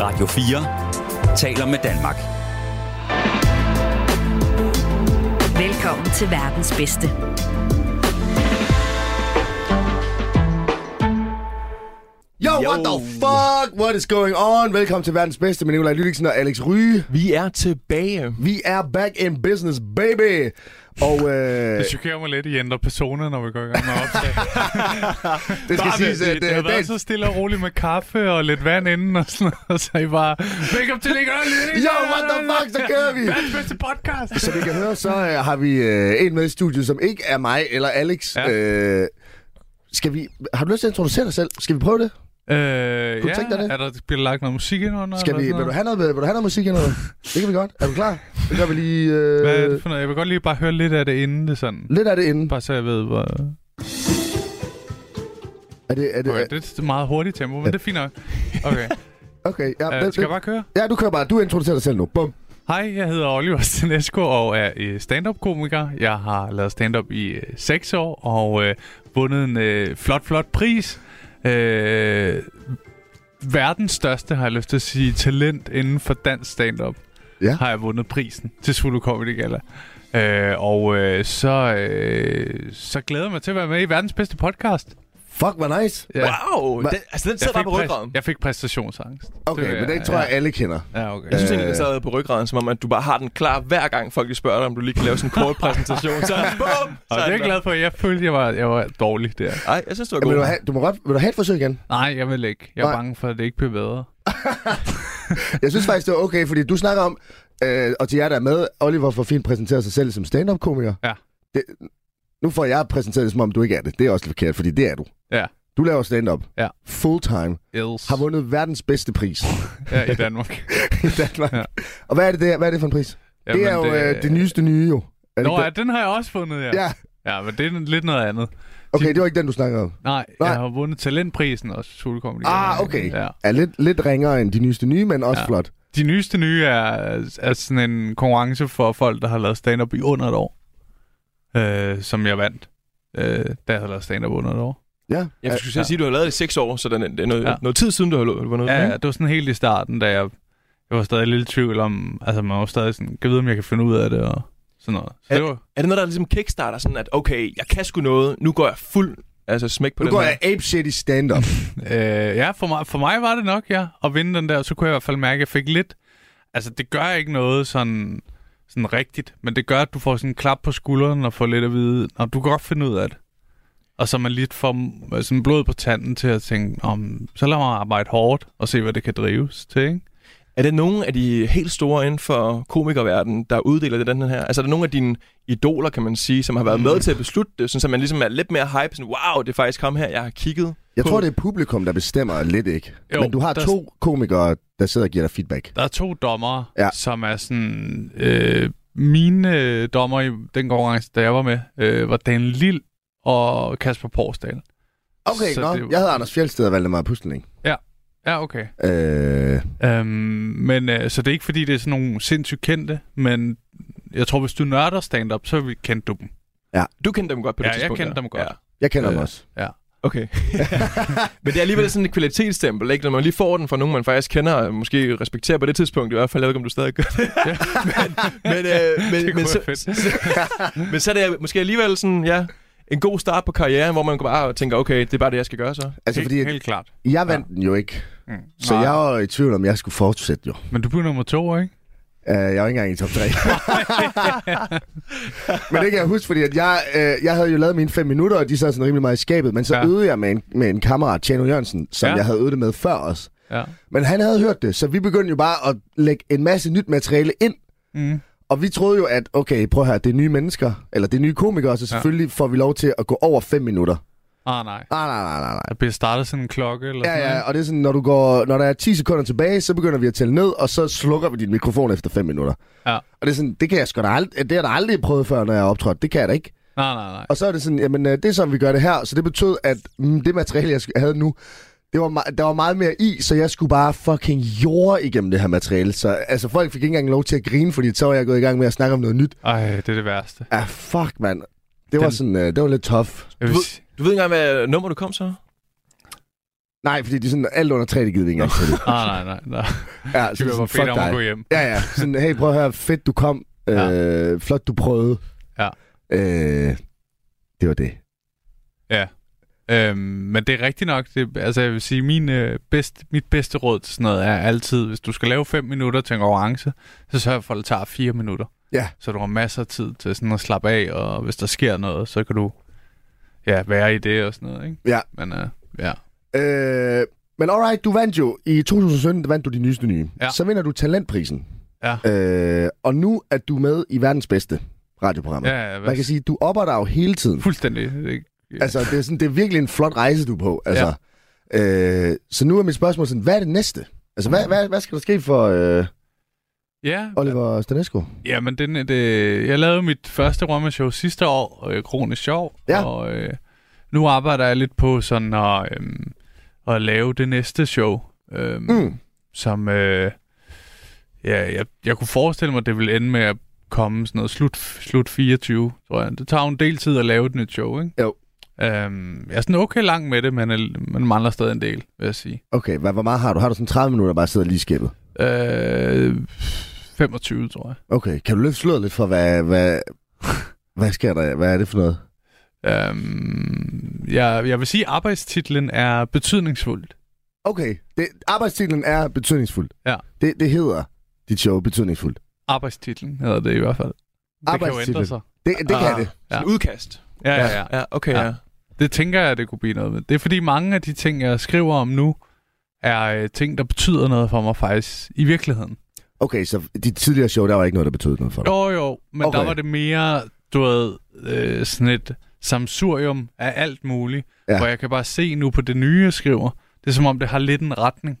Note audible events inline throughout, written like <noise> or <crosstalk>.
Radio 4 taler med Danmark. Velkommen til verdens bedste. Yo, Yo, what the fuck? What is going on? Velkommen til verdens bedste med Nikolaj Lydiksen og Alex Ryge. Vi er tilbage. Vi er back in business, baby. Og øh, Det chokerer mig lidt, I ændrer persona, når vi går i gang med at <laughs> optage. det skal Bare siges, det, at det, det har øh, været dagens... så stille og roligt med kaffe og lidt vand inden og sådan noget, <laughs> så I bare, velkommen til Nick Ørlid! Yo, what the fuck, så kører vi! Verdens bedste podcast! Som I kan høre, så øh, har vi øh, en med i studiet, som ikke er mig eller Alex. Ja. Ja. Øh, skal vi... Har du lyst til at introducere dig selv? Skal vi prøve det? Øh, Kunne du ja, tænke dig det? er der bliver lagt noget musik ind under? Skal eller vi, sådan vil, du noget? have noget, vil du have noget musik eller noget? Det kan vi godt. Er du klar? Det gør vi lige... Øh, Hvad er det for noget? Jeg vil godt lige bare høre lidt af det inden det er sådan. Lidt af det inden. Bare så jeg ved, hvor... Er det, er det, Okay, det er et meget hurtigt tempo, men det er fint nok. Okay, okay ja, øh, vent, skal vent. jeg bare køre? ja, du kører bare. Du introducerer dig selv nu. Bum. Hej, jeg hedder Oliver <laughs> Stanesco og er øh, stand-up-komiker. Jeg har lavet stand-up i øh, 6 år og øh, vundet en øh, flot, flot pris. Øh, verdens største, har jeg lyst til at sige, talent inden for dansk stand-up. Ja. Har jeg vundet prisen til Zulu Comedy Gala. Øh, og øh, så, øh, så glæder jeg mig til at være med i verdens bedste podcast. Fuck, hvor nice. Ja. Wow. Hva- Den, altså, den Jeg sidder bare fik, på præs- ryggraden. jeg fik præstationsangst. Okay, Det, men den øh, tror jeg, alle kender. Ja, okay. Jeg synes egentlig, Øh. den sad på ryggraden, som om, at du bare har den klar hver gang folk de spørger dig, om du lige kan lave <laughs> sådan en kort præsentation. Så, bum, så Og det er jeg glad for. Jeg følte, jeg var, jeg var dårlig der. Nej, jeg synes, det var Ja, men god. vil du, have, du må godt, vil du have et forsøg igen? Nej, jeg vil ikke. Jeg er Nej. Nej. bange for, at det ikke bliver bedre. Jeg synes faktisk, det er okay, fordi du snakker om, øh, og til jer, der er med, Oliver for fint præsenterer sig selv som stand-up-komiker. Ja. Det, nu får jeg præsenteret det, som om du ikke er det. Det er også lidt forkert, fordi det er du. Ja. Du laver stand-up. Ja. Full-time. Else. Har vundet verdens bedste pris <laughs> Ja, i Danmark. i Danmark. Ja. Ja. Og hvad er det, der? hvad er det for en pris? Jamen, det er jo det, øh, det nyeste nye, jo. Er det Nå, ikke ja, det? den har jeg også fundet, ja. Ja. Ja, men det er lidt noget andet. Okay, det var ikke den, du snakkede om. Nej, Nej. Nej. jeg har vundet talentprisen også, Sule Comedy. Ah, Gala. okay. Ja. Er lidt, lidt ringere end de nyeste nye, men også ja. Ja. flot. De nyeste nye er, er sådan en konkurrence for folk, der har lavet stand-up i under et år. Øh, som jeg vandt, øh, da jeg havde lavet stand-up under et år. Ja. Øh, Jeg skulle ja. sige, at du har lavet det i seks år, så den, det er noget, ja. Ja. noget tid siden, du har lavet det. Ja, Ja. ja, det var sådan helt i starten, da jeg, jeg var stadig lidt i tvivl om... Altså, man var stadig sådan, kan vide, om jeg kan finde ud af det og sådan noget. Så det var, Er det noget, der er ligesom kickstarter, sådan at, okay, jeg kan sgu noget, nu går jeg fuld altså smæk på nu den går her. jeg ape shit i stand-up. Øh, ja, for mig, for mig var det nok, ja. At vinde den der, så kunne jeg i hvert fald mærke, at jeg fik lidt... Altså, det gør ikke noget sådan, sådan rigtigt, men det gør, at du får sådan en klap på skulderen og får lidt at vide, og du kan godt finde ud af det. Og så man lidt får øh, sådan blod på tanden til at tænke, om, så lad mig arbejde hårdt og se, hvad det kan drives til, ikke? Er det nogen af de helt store inden for komikerverdenen, der uddeler det den her? Altså er der nogen af dine idoler, kan man sige, som har været Mm. med til at beslutte det, sådan, så man ligesom er lidt mere hype, sådan, wow, det er faktisk ham her, jeg har kigget. Jeg på. tror, det er publikum, der bestemmer lidt, ikke? Jo, Jo, Men du har der- to komikere, der sidder og giver dig feedback. Der er to dommer, Ja. ja. som er sådan... Øh, mine øh, dommer i den konkurrence, da jeg var med, øh, var Dan Lille og Kasper Porsdal. Okay, Så nå. det er jo- Jeg hedder Anders Fjeldsted og Valdemar Pustelning. Ja, okay. Øh, Øhm, men øh, så det er ikke fordi, det er sådan nogle sindssygt kendte, men jeg tror, hvis du nørder stand-up, så vil- kendte du dem. Du kendte dem godt på det Ja, jeg tidspunkt. kendte dem godt. jeg kender ham Øh. også. Okay. <laughs> Men det er alligevel sådan et kvalitetsstempel, ikke? Når man lige får den fra nogen, man faktisk kender og måske respekterer på det tidspunkt. I hvert fald, jeg ved ikke, om du stadig gør det. <laughs> men, men, øh, men, <laughs> Det kunne men, være så, fedt. så, men så <laughs> er det måske alligevel sådan, ja, en god start på karrieren, hvor man bare tænker, okay, det er bare det, jeg skal gøre så. Altså, helt, fordi at helt klart. jeg vandt den jo ikke, Mm. så Nej, jeg var i tvivl om, jeg skulle fortsætte jo. Men du blev nummer to, ikke? Øh, jeg var ikke engang i top <laughs> 3. Men det kan jeg huske, fordi at jeg, øh, jeg havde jo lavet mine fem minutter, og de sad sådan rimelig meget i skabet. Men så ja. Ja. øvede jeg med en, med en kammerat, Tjano Jørgensen, som ja. Ja. jeg havde øvet det med før os. Ja. Men han havde hørt det, så vi begyndte jo bare at lægge en masse nyt materiale ind, Mm. Og vi troede jo, at okay, prøv at høre, det er nye mennesker, eller det er nye komikere, så Ja. selvfølgelig ja. får vi lov til at gå over 5 minutter. Ah, nej. Nej, nej, nej, nej, nej. Der bliver startet sådan en klokke eller sådan Ja, ja, noget. og det er sådan, når, du går, når der er 10 sekunder tilbage, så begynder vi at tælle ned, og så slukker vi din mikrofon efter 5 minutter. Ja. Og det er sådan, det kan jeg sgu da aldrig, det har jeg da aldrig prøvet før, når jeg er optrådt. Det kan jeg da ikke. Nej, nej, nej. Og så er det sådan, jamen øh, det er sådan, vi gør det her. Så det betød, at mm, det materiale, jeg sk- havde nu, det var, me- der var meget mere i, så jeg skulle bare fucking jorde igennem det her materiale. Så altså, folk fik ikke engang lov til at grine, fordi så var jeg gået i gang med at snakke om noget nyt. Ej, det er det værste. Ja, ah, fuck, mand. Det var Den- sådan, øh, det var lidt tough. Jeg Du vil ved, sige, du ved ikke engang, hvad nummer du kom så? Nej, fordi de er sådan, alt under 3, det gider vi ikke engang til. <laughs> Ah, nej, nej, <laughs> nej. Ja, Det var fedt om at gå hjem. Ja, ja. Sådan, hey, prøv at høre, fedt du kom. Ja. Øh, flot du prøvede. Ja. Øh, det var det. Ja. Øhm, men det er rigtigt nok. Det, altså, jeg vil sige, min, øh, bedst, mit bedste råd til sådan noget er altid, hvis du skal lave 5 minutter til en konkurrence, så sørg for, at det tager 4 minutter. Ja. Så du har masser af tid til sådan at slappe af, og hvis der sker noget, så kan du ja, være i det og sådan noget, ikke? Ja. Men øh, ja. Øh, men alright, du vandt jo. I 2017 der vandt du de nyeste nye. Ja. Så vinder du talentprisen. Ja. Øh, og nu er du med i verdens bedste radioprogram. Ja, ja, hvad- Man kan sige, du opper dig jo hele tiden. Fuldstændig. Det- Altså, det er, sådan, det er virkelig en flot rejse, du er på. Altså, ja. øh, så nu er mit spørgsmål sådan, hvad er det næste? Altså, hvad, hvad, hvad skal der ske for øh, Ja, Oliver Stanesco? ja men den, øh, det, jeg lavede mit første rømmeshow sidste år, øh, Kronisk Sjov, Ja. og øh, nu arbejder jeg lidt på sådan at, øh, at lave det næste show, øh, Mm. som øh, ja, jeg, jeg kunne forestille mig, det ville ende med at komme sådan noget slut, slut 24, tror jeg. Det tager jo en del tid at lave et nyt show, ikke? Jo. Øhm, jeg er sådan okay lang med det, men jeg, man mangler stadig en del, vil jeg sige. Okay, hvad, hvor meget har du? Har du sådan 30 minutter, bare sidder lige i skabet? Øh, 25, tror jeg. Okay, kan du løfte sløret lidt for, hvad, hvad, <laughs> hvad sker der? Hvad er det for noget? Øhm, jeg, jeg vil sige, at arbejdstitlen er betydningsfuldt. Okay, det, arbejdstitlen er betydningsfuld. Ja. Det, det hedder dit show, betydningsfuldt. Arbejdstitlen hedder det i hvert fald. Det kan jo ændre Arbejdstitlen. sig. Det, det kan Ah. det. Ja. Ja. Udkast. Ja, ja, ja. Ja, okay, Ja. ja. Det tænker jeg, det kunne blive noget med. Det er fordi mange af de ting, jeg skriver om nu, er øh, ting, der betyder noget for mig faktisk i virkeligheden. Okay, så dit tidligere show, der var ikke noget, der betød noget for dig. Jo, jo, men okay. Okay. der var det mere, du ved, øh, sådan et samsurium af alt muligt, Ja. ja. hvor jeg kan bare se nu på det nye, jeg skriver. Det er som om, det har lidt en retning.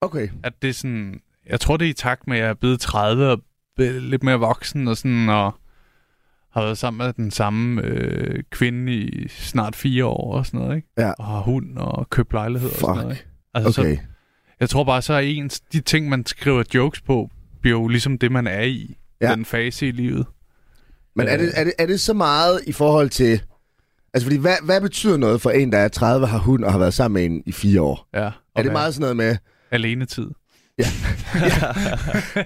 Okay, at det er sådan... Jeg tror, det er i takt med, at jeg er blevet 30 og blevet lidt mere voksen og sådan, og har været sammen med den samme øh, kvinde i snart fire år og sådan noget, ikke? Ja. Og har hund og købt lejlighed og sådan noget, fuck. ikke? Altså, Okay, så, jeg tror bare, så er ens, de ting, man skriver jokes på, bliver jo ligesom det, man er i. Ja. Ja. Den fase i livet. men er det, er, det, er det så meget i forhold til... Altså, fordi hvad, hvad betyder noget for en, der er 30, har hund og har været sammen med en i fire år? Ja. Og Er det være meget sådan noget med... <laughs> Alenetid.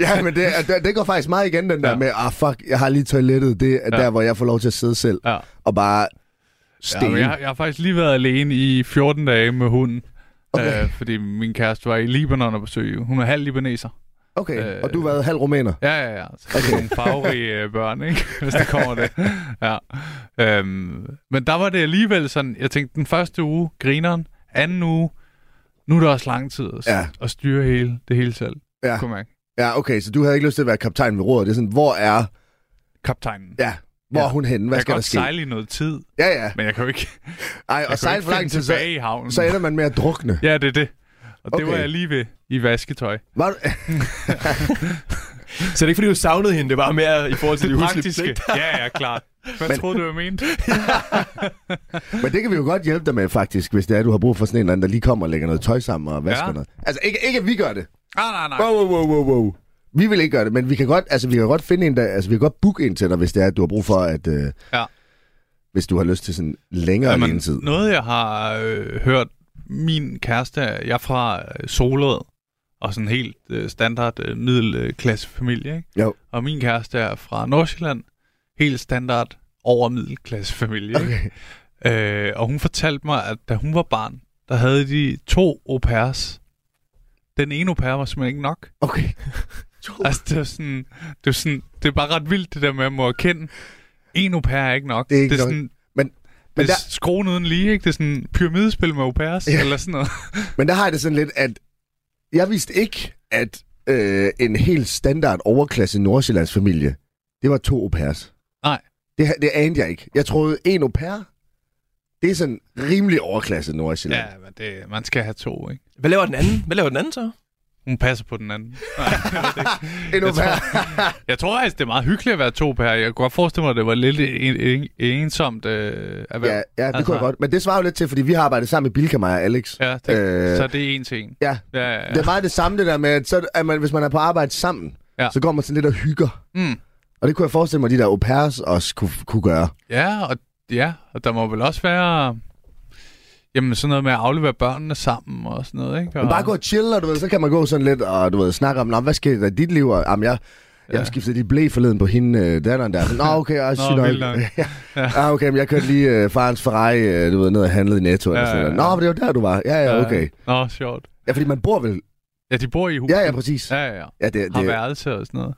Ja, men det, det, det går faktisk meget igen, den der Ja. med, ah fuck, jeg har lige toilettet, det er Ja. der, hvor jeg får lov til at sidde selv. Ja. og bare Ja, stene. men jeg, jeg har faktisk lige været alene i 14 dage med hunden. Okay. Okay. Øh, fordi min kæreste var i Libanon og besøgte. Hun er halv libaneser. Okay, øh, Øh, og du har været halv rumæner. Ja, ja, ja. Så okay. nogle farverige øh, børn, ikke? <laughs> hvis der kommer det. Ja. Øhm, men der var det alligevel sådan, jeg tænkte, den første uge, grineren, anden uge, nu er det også lang tid at, Ja. ja. at styre hele, det hele selv. Ja. Ja. Kunne man. Ja, okay, så du havde ikke lyst til at være kaptajn ved roret. Det er sådan, hvor er, Kaptajnen. ja, hvor ja. Ja. er hun henne? Hvad jeg skal kan der godt ske? sejle i noget tid, Ja, ja. men jeg kan jo ikke, Ej, og jeg kan jo sejle ikke for lang finde tid, så, tilbage i havnen. så ender man med at drukne. Ja, det er det. Og okay. det var Okay. jeg lige ved i vasketøj. Var du... <laughs> Så det er ikke, fordi du savnede hende, det var mere i forhold til de huslige Praktiske. Ja, ja, <laughs> klart. Hvad Men- men... troede du, jeg <laughs> mente? Men det kan vi jo godt hjælpe dig med, faktisk, hvis det er, du har brug for sådan en eller anden, der lige kommer og lægger noget tøj sammen og vasker ja. Ja. noget. Altså, ikke, ikke at vi gør det. Ah, nej, nej. Wow, wow, wow, wow, wow. Vi vil ikke gøre det, men vi kan godt, altså, vi kan godt finde en, der, altså, vi kan godt booke en til dig, hvis det er, at du har brug for, at... Øh, Ja. Hvis du har lyst til sådan længere ja, Jamen, men, tid. Noget, jeg har øh, hørt min kæreste, jeg er fra øh, Solrød, og sådan en helt øh, standard øh, middelklassefamilie, ikke? Jo. Og min kæreste er fra Nordsjælland, helt standard over middelklassefamilie, okay. Okay. ikke? Øh, og hun fortalte mig, at da hun var barn, der havde de to au pairs. Den ene au pair var simpelthen ikke nok. Okay. Altså, det er sådan, det er sådan, det er bare ret vildt, det der med at må erkende. En au pair er ikke nok. Det er ikke det er nok. sådan, Men- men det der- er skruen uden lige, ikke? Det er sådan pyramidespil med au pairs, Ja. ja. eller <laughs> sådan noget. Men der har jeg det sådan lidt, at jeg vidste ikke, at øh, en helt standard overklasse Nordsjællandsfamilie, det var to au pairs. Nej. Det, ha- det anede jeg ikke. Jeg troede, en au pair, det er sådan rimelig overklasse Nordsjælland. Ja, men det, man skal have to, ikke? Hvad laver den anden? Hvad laver den anden så? Hun passer på den anden. Nej, jeg ved det ikke. En au Jeg tror- pair. Jeg tror faktisk, det er meget hyggeligt at være to au pair. Jeg kunne godt forestille mig, at det var lidt en, en, ensomt øh, erhverv. ja, ja, det altså... Altså- kunne jeg godt. Men det svarer jo lidt til, fordi vi har arbejdet sammen med Bilka, mig og Alex. Ja, det, Øh. øh... så det er en til en. Ja. Ja, ja, ja. Det er meget det samme det der med, at, så, at man, hvis man er på arbejde sammen, ja. Ja. så går man sådan lidt og hygger. Mm. Og det kunne jeg forestille mig, at de der au pairs også kunne, kunne gøre. Ja, og, ja, og der må vel også være... Jamen sådan noget med at aflevere børnene sammen og sådan noget, ikke? Men Og, bare gå og chill, og du ved, så kan man gå sådan lidt og du ved, snakke om, "Nå, hvad sker der i dit liv? Og, jamen, jeg, jeg Ja. ja. skiftede lige blæ forleden på hende, øh, datteren der. Nå, okay, jeg Nå, sygt nok. vildt nok. <laughs> ja. ah, okay, men jeg kørte lige øh, farens Ferrari, øh, du ved, ned og handlede i Netto. Ja, Ja, eller sådan ja, noget. ja. Nå, men det var der, du var. Ja, ja, okay. Nå, sjovt. Ja, fordi man bor vel... Ja, de bor i huset. Ja, ja, præcis. Ja, ja, ja. Ja, det, Har det, værelse og sådan noget.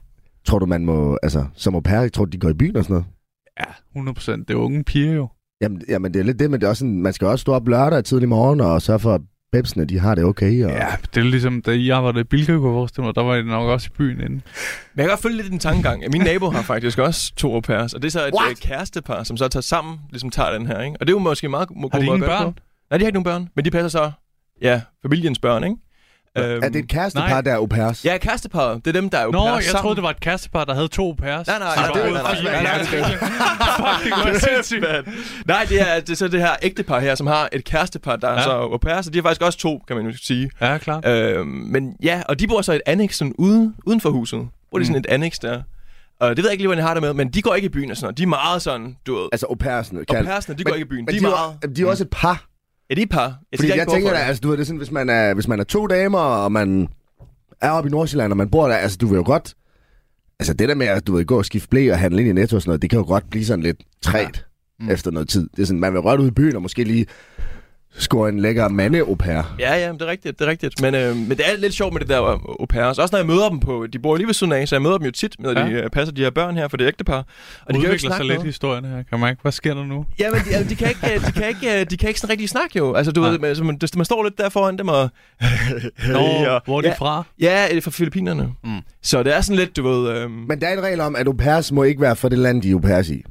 tror du, man må... Altså, som au pair, tror du, de går i byen og sådan noget? Ja, 100 procent. Det er unge piger jo. Jamen, jamen, det er lidt det, men det er også sådan, man skal også stå op lørdag tidlig morgen og sørge for, at pepsene, de har det okay. Og... Ja, det er ligesom, da I arbejdede i Bilka, kunne jeg forestille mig, der var I nok også i byen inden. Men jeg kan godt følge lidt den tankegang. <laughs> Min nabo har faktisk også to au pairs, og det er så et What? What? kærestepar, som så tager sammen, ligesom tager den her, ikke? Og det er jo måske meget må, Har de ingen børn? Nej, de har ikke nogen børn, men de passer så, ja, familiens børn, ikke? Øhm, Er det et kærestepar, nej. der er au pairs? Ja, kærestepar. Det er dem, der er au Nå, pairs jeg sammen. troede, det var et kærestepar, der havde to pæres. Nej, nej, nej, det det var er- nej, både nej, fire nej, nej, i nej, hjertet. <laughs> Fuck, det <laughs> går sindssygt. Mand. Nej, det er, det er så det her ægtepar her, som har et kærestepar, der ja. Ja. er så au pair, så de har faktisk også to, kan man jo sige. Ja, klart. Øh, men ja, og de bor så i et annex sådan ude, uden for huset. Hvor det Mm. er sådan et annex der. Og det ved jeg ikke lige, hvordan jeg har det med, men de går ikke i byen og sådan noget. De er meget sådan, du ved. Altså au pairsene. Og kan- perserne, de Men- går ikke i byen. Men De er de, meget... er, de er også et par. Er de et par? Jeg Fordi siger jeg, ikke, tænker, hvorfor. at, altså, du ved, det er sådan, hvis man er, hvis man er to damer, og man er oppe i Nordsjælland, og man bor der, altså du vil jo godt... Altså det der med at du ved, gå og skifte blæ og handle ind i Netto og sådan noget, det kan jo godt blive sådan lidt træt ja. mm. efter noget tid. Det er sådan, man vil rødt ud i byen og måske lige score en lækker mande au pair. Ja, ja, men det er rigtigt, det er rigtigt. Men, øh, men det er lidt sjovt med det der au au pairs. Også når jeg møder dem på, de bor lige ved siden af, så jeg møder dem jo tit, når Ja. de øh, passer de her børn her, for det er ægtepar. Og de kan jo ikke Udvikler snakke sig noget. lidt historien her, kan man ikke? Hvad sker der nu? Ja, men de, altså, de, kan ikke, øh, de, kan ikke, øh, de kan ikke sådan rigtig snakke jo. Altså, du Nej. ved, man, altså, man, det- man står lidt der foran dem og... Nå, <laughs> Ja. hvor er de ja, fra? Ja, øh, fra Filippinerne. Mm. Mm. Så det er sådan lidt, du ved... Øhm, men, Men der er en regel om, at au pairs må ikke være for det land, de er au pairs i.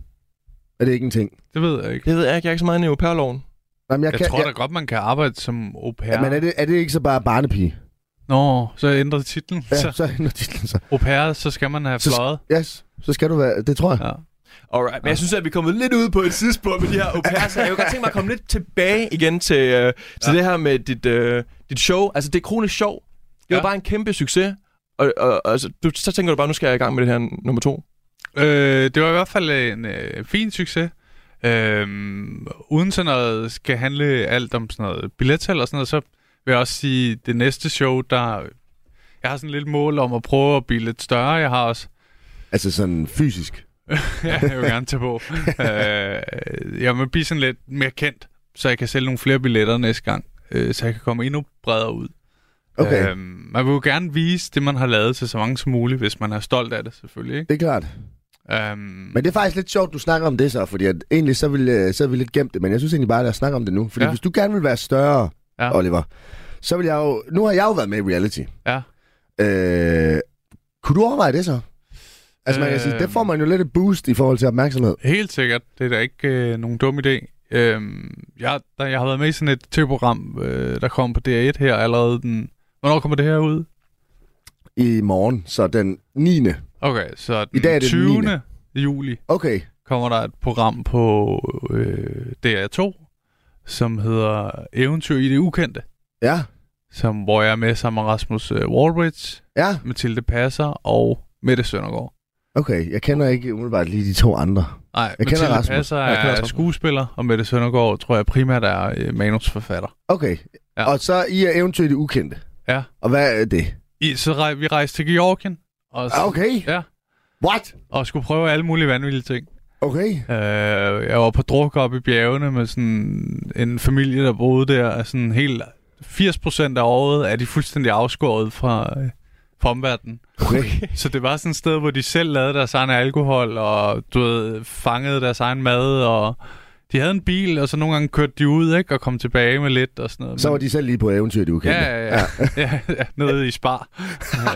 Er det ikke en ting? Det ved jeg ikke. det ved jeg ikke, jeg er ikke så meget inde i au pair-loven. Jamen, Jeg tror da godt, man kan arbejde som au pair. Ja. Men er det, er det ikke så bare barnepige? Nå, så jeg ændrede titlen. Ja, Så så <laughs> ændrer titlen sig. au pair, så skal man have Så- fløjet. Yes, så skal du være... Det tror jeg. Ja. Alright, men jeg synes, at vi er kommet lidt ud på et tidspunkt med de her au pairs. <laughs> Jeg kunne godt tænke mig at komme lidt tilbage igen til, øh, til ja. det her med dit, øh, dit show. Altså, det er kronisk sjov. Det ja. Ja. var bare en kæmpe succes. Og, og altså, du, så tænker du bare, nu skal jeg i gang med det her n- nummer to. Øh, det var i hvert fald en øh, fin succes. Øhm, uden sådan noget skal handle alt om sådan noget billettal og sådan noget, så vil jeg også sige, det næste show, der... Jeg har sådan lidt mål om at prøve at blive lidt større. Jeg har også... <laughs> Altså sådan fysisk. ja, jeg vil gerne tage på. øh, jeg vil blive sådan lidt mere kendt, så jeg kan sælge nogle flere billetter næste gang. Øh, så jeg kan komme endnu bredere ud. Okay, Øhm, man vil jo gerne vise det, man har lavet til så mange som muligt, hvis man er stolt af det, selvfølgelig. Ikke? det er klart. Øhm, Men det er faktisk lidt sjovt, du snakker om det så, fordi at egentlig så ville, øh, så ville vi lidt gemt det, men jeg synes egentlig bare, at jeg snakker om det nu. Fordi Ja. ja. hvis du gerne vil være større, Ja. ja. Oliver, så vil jeg jo... Nu har jeg jo været med i reality. Ja. Øh, kunne du overveje det så? Altså man kan sige, Øh. det får man jo lidt et boost i forhold til opmærksomhed. Helt sikkert. Det er da ikke øh, nogen dum idé. Øhm, jeg, der, jeg har været med i sådan et tv-program, øh, der kom på DR1 her allerede den... Hvornår kommer det her ud? I morgen, så den 9. Okay, så den I dag er det den 20. 9.. juli Okay, kommer der et program på øh, DR2, som hedder Eventyr i det ukendte, ja, som, hvor jeg er med sammen med Rasmus øh, Wallbridge, ja, Mathilde Passer og Mette Søndergaard. okay. Jeg kender ikke umiddelbart lige de to andre. Nej, kender Mathilde Rasmus. Passer Jeg kender er Rasmus. skuespiller, og Mette Søndergaard tror jeg primært er øh, manusforfatter. Okay, Ja. ja. og så I er eventuelt det ukendte. Ja. Og hvad er det? I, så rej, vi rejste til Georgien, og, s- Ah, Okay. Ja. What? og skulle prøve alle mulige vanvittige ting. Okay. Øh, jeg var på druk op i bjergene med sådan en familie, der boede der, og sådan helt 80% af året er de fuldstændig afskåret fra, øh, fra omverdenen. <laughs> Okay. Så det var sådan et sted, hvor de selv lavede deres egen alkohol, og du ved, fangede deres egen mad, og de havde en bil, og så nogle gange kørte de ud, ikke, og kom tilbage med lidt og sådan noget. Så var Men- de selv lige på eventyr, du ukendte. Ja, ja, <laughs> ja. ja, nede <laughs> i Spar.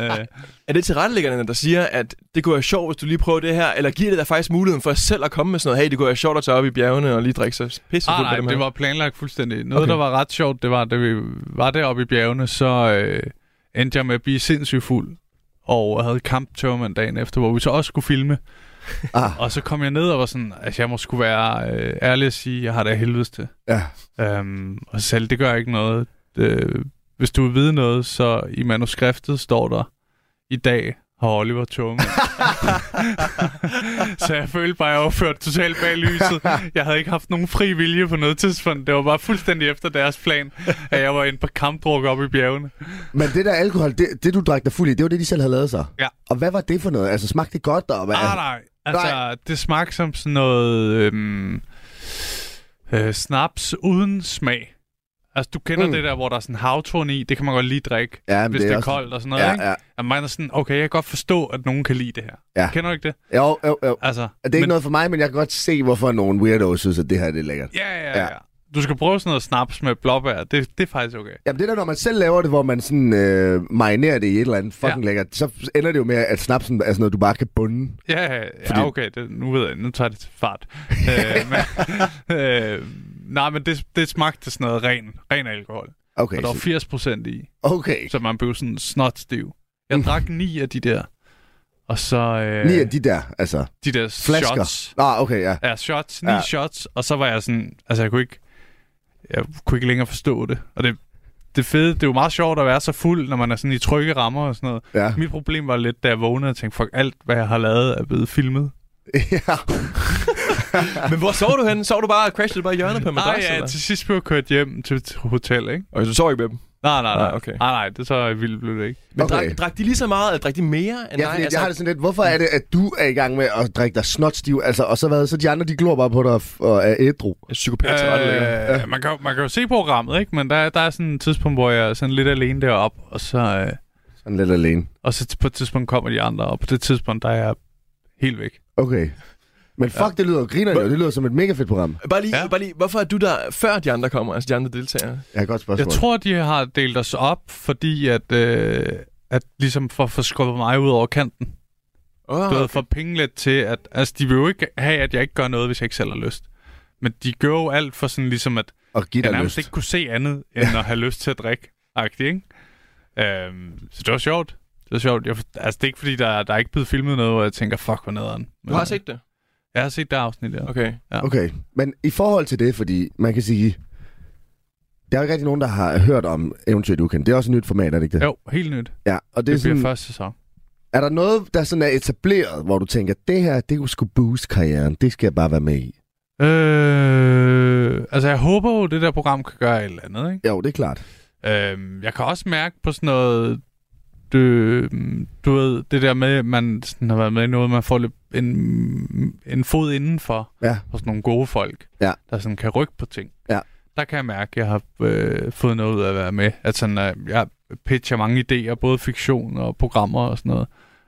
øh, Er det tilrettelæggerne, der siger, at det kunne være sjovt, hvis du lige prøver det her, eller giver det dig faktisk muligheden for selv at komme med sådan noget, hey, det kunne være sjovt at tage op i bjergene og lige drikke sig pisse Ah, fuld nej, med dem det her. var planlagt fuldstændig. Noget, okay. Okay. der var ret sjovt, det var, da vi var deroppe i bjergene, så øh, endte jeg med at blive sindssygt fuld. Og havde kamptørmand dagen efter, hvor vi så også skulle filme. Ah. Og så kom jeg ned og var sådan, at jeg må skulle være øh, ærlig at sige, jeg har det af helvedes til. ja. Øhm, og selv, det gør ikke noget. Øh, hvis du vil vide noget, så i manuskriptet står der i dag har Oliver tunge. <laughs> så jeg følte bare, at jeg var ført totalt bag lyset. Jeg havde ikke haft nogen fri vilje på noget tidspunkt. Det var bare fuldstændig efter deres plan, at jeg var inde på kampdruk oppe i bjergene. Men det der alkohol, det, det du drak dig fuld i, det var det, de selv havde lavet sig. Ja. Og hvad var det for noget? Altså, smagte det godt? Og hvad? Ah, nej. Altså, Nej. nej. det smagte som sådan noget øhm, øh, snaps uden smag. Altså, du kender Mm. mm. det der, hvor der er sådan havtorn i. Det kan man godt lige drikke, Ja, men hvis det det er er, også- koldt og sådan noget. Ja, ikke? ja. Og man er sådan, okay, jeg kan godt forstå, at nogen kan lide det her. Ja. Kender du ikke det? Jo, jo, jo. Altså, Det er ikke men- noget for mig, men jeg kan godt se, hvorfor nogle weirdos synes, at det her det er lækkert. Ja, ja, Ja. ja. Du skal prøve sådan noget snaps med blåbær. Det, det er faktisk okay. Jamen det der, når man selv laver det, hvor man sådan øh, marinerer det i et eller andet fucking ja. Ja. lækkert, så ender det jo med, at snapsen er sådan noget, du bare kan bunde. Ja, ja, Fordi- ja okay. Det, nu ved jeg, nu tager det til fart. <laughs> øh, men, øh, nej, men det, det smagte sådan noget ren, ren alkohol. Okay, Og der var så, 80 procent i, okay. så man blev sådan snotstiv. Jeg Mm. drak ni af de der. Og så øh, Lige af de der, altså. de der flasker. shots. Nå, okay, ja. Ja, shots. Ni Ja. ja. shots. Og så var jeg sådan... Altså, jeg kunne ikke, jeg kunne ikke længere forstå det. Og det, det fede, det er jo meget sjovt at være så fuld, når man er sådan i trygge rammer og sådan noget. Ja. <laughs> <laughs> Mit problem var lidt, da jeg vågnede og tænkte, fuck, alt hvad jeg har lavet er blevet filmet. ja. Men hvor sov du henne? Sov du bare og crashede bare i hjørnet på en <laughs> Nej, madras? Ah, ja, eller? til sidst blev jeg kørt hjem til et hotel, ikke? Okay, så du sov ikke med dem. Nej, nej, nej. Nej, okay. Nej, nej, det er så vildt blev det ikke. Men Okay. okay. drak, drak, de lige så meget, eller drak de mere end Ja, dig? Altså, fordi altså- jeg har det sådan lidt, hvorfor er det, at du er i gang med at drikke dig snotstiv, altså, og så hvad, så de andre, de glor bare på dig f- og er ædru. en psykopat til øh... øh, man, kan, jo- man kan jo se programmet, ikke? Men der, der er sådan et tidspunkt, hvor jeg er sådan lidt alene deroppe, og så, øh, Sådan lidt alene. og så t- på et tidspunkt kommer de andre, og på det tidspunkt, der er jeg helt væk. Okay. Men fuck, ja. det lyder jo griner jo. Det lyder som et mega fedt program. Øh, Bare lige, Ja. ja. bare lige, hvorfor er du der, før de andre kommer, altså de andre deltagere? Jeg har et godt spørgsmål. Jeg tror, de har delt os op, fordi at, øh, at ligesom for at få skubbet mig ud over kanten. Oh, Du ved, for penge lidt til, at... Altså, de vil jo ikke have, at jeg ikke gør noget, hvis jeg ikke selv har lyst. Men de gør jo alt for sådan ligesom, at Og give jeg dig nærmest lyst. ikke kunne se andet, end at have <laughs> lyst til at drikke. Agtigt, ikke? Øhm, så det var sjovt. Det var sjovt. Jeg, for- altså, det er ikke, fordi der, der er ikke blevet filmet noget, hvor jeg tænker, fuck, hvor nederen. Men, Du har set det? Jeg har set det afsnit, der. Okay. Okay, men i forhold til det, fordi man kan sige, der er jo ikke rigtig nogen, der har hørt om Eventyr Ukendt. Det er også et nyt format, er det ikke det? Jo, helt nyt. Det, Ja, og det, det er, bliver sådan, første sæson. er der noget, der sådan er etableret, hvor du tænker, det her, det kunne sgu boost karrieren. Det skal jeg bare være med i. Øh, altså, jeg håber jo, det der program kan gøre et eller andet, ikke? Jo, det er klart. Øhm, jeg kan også mærke på sådan noget, du, du ved, det der med, at man sådan har været med i noget, man får lidt en, en fod indenfor Ja. hos nogle gode folk, Ja. der sådan kan rykke på ting. Ja. Der kan jeg mærke, at jeg har øh, fået noget ud af at være med. At sådan, at jeg pitcher mange idéer, både fiktion og programmer og sådan noget.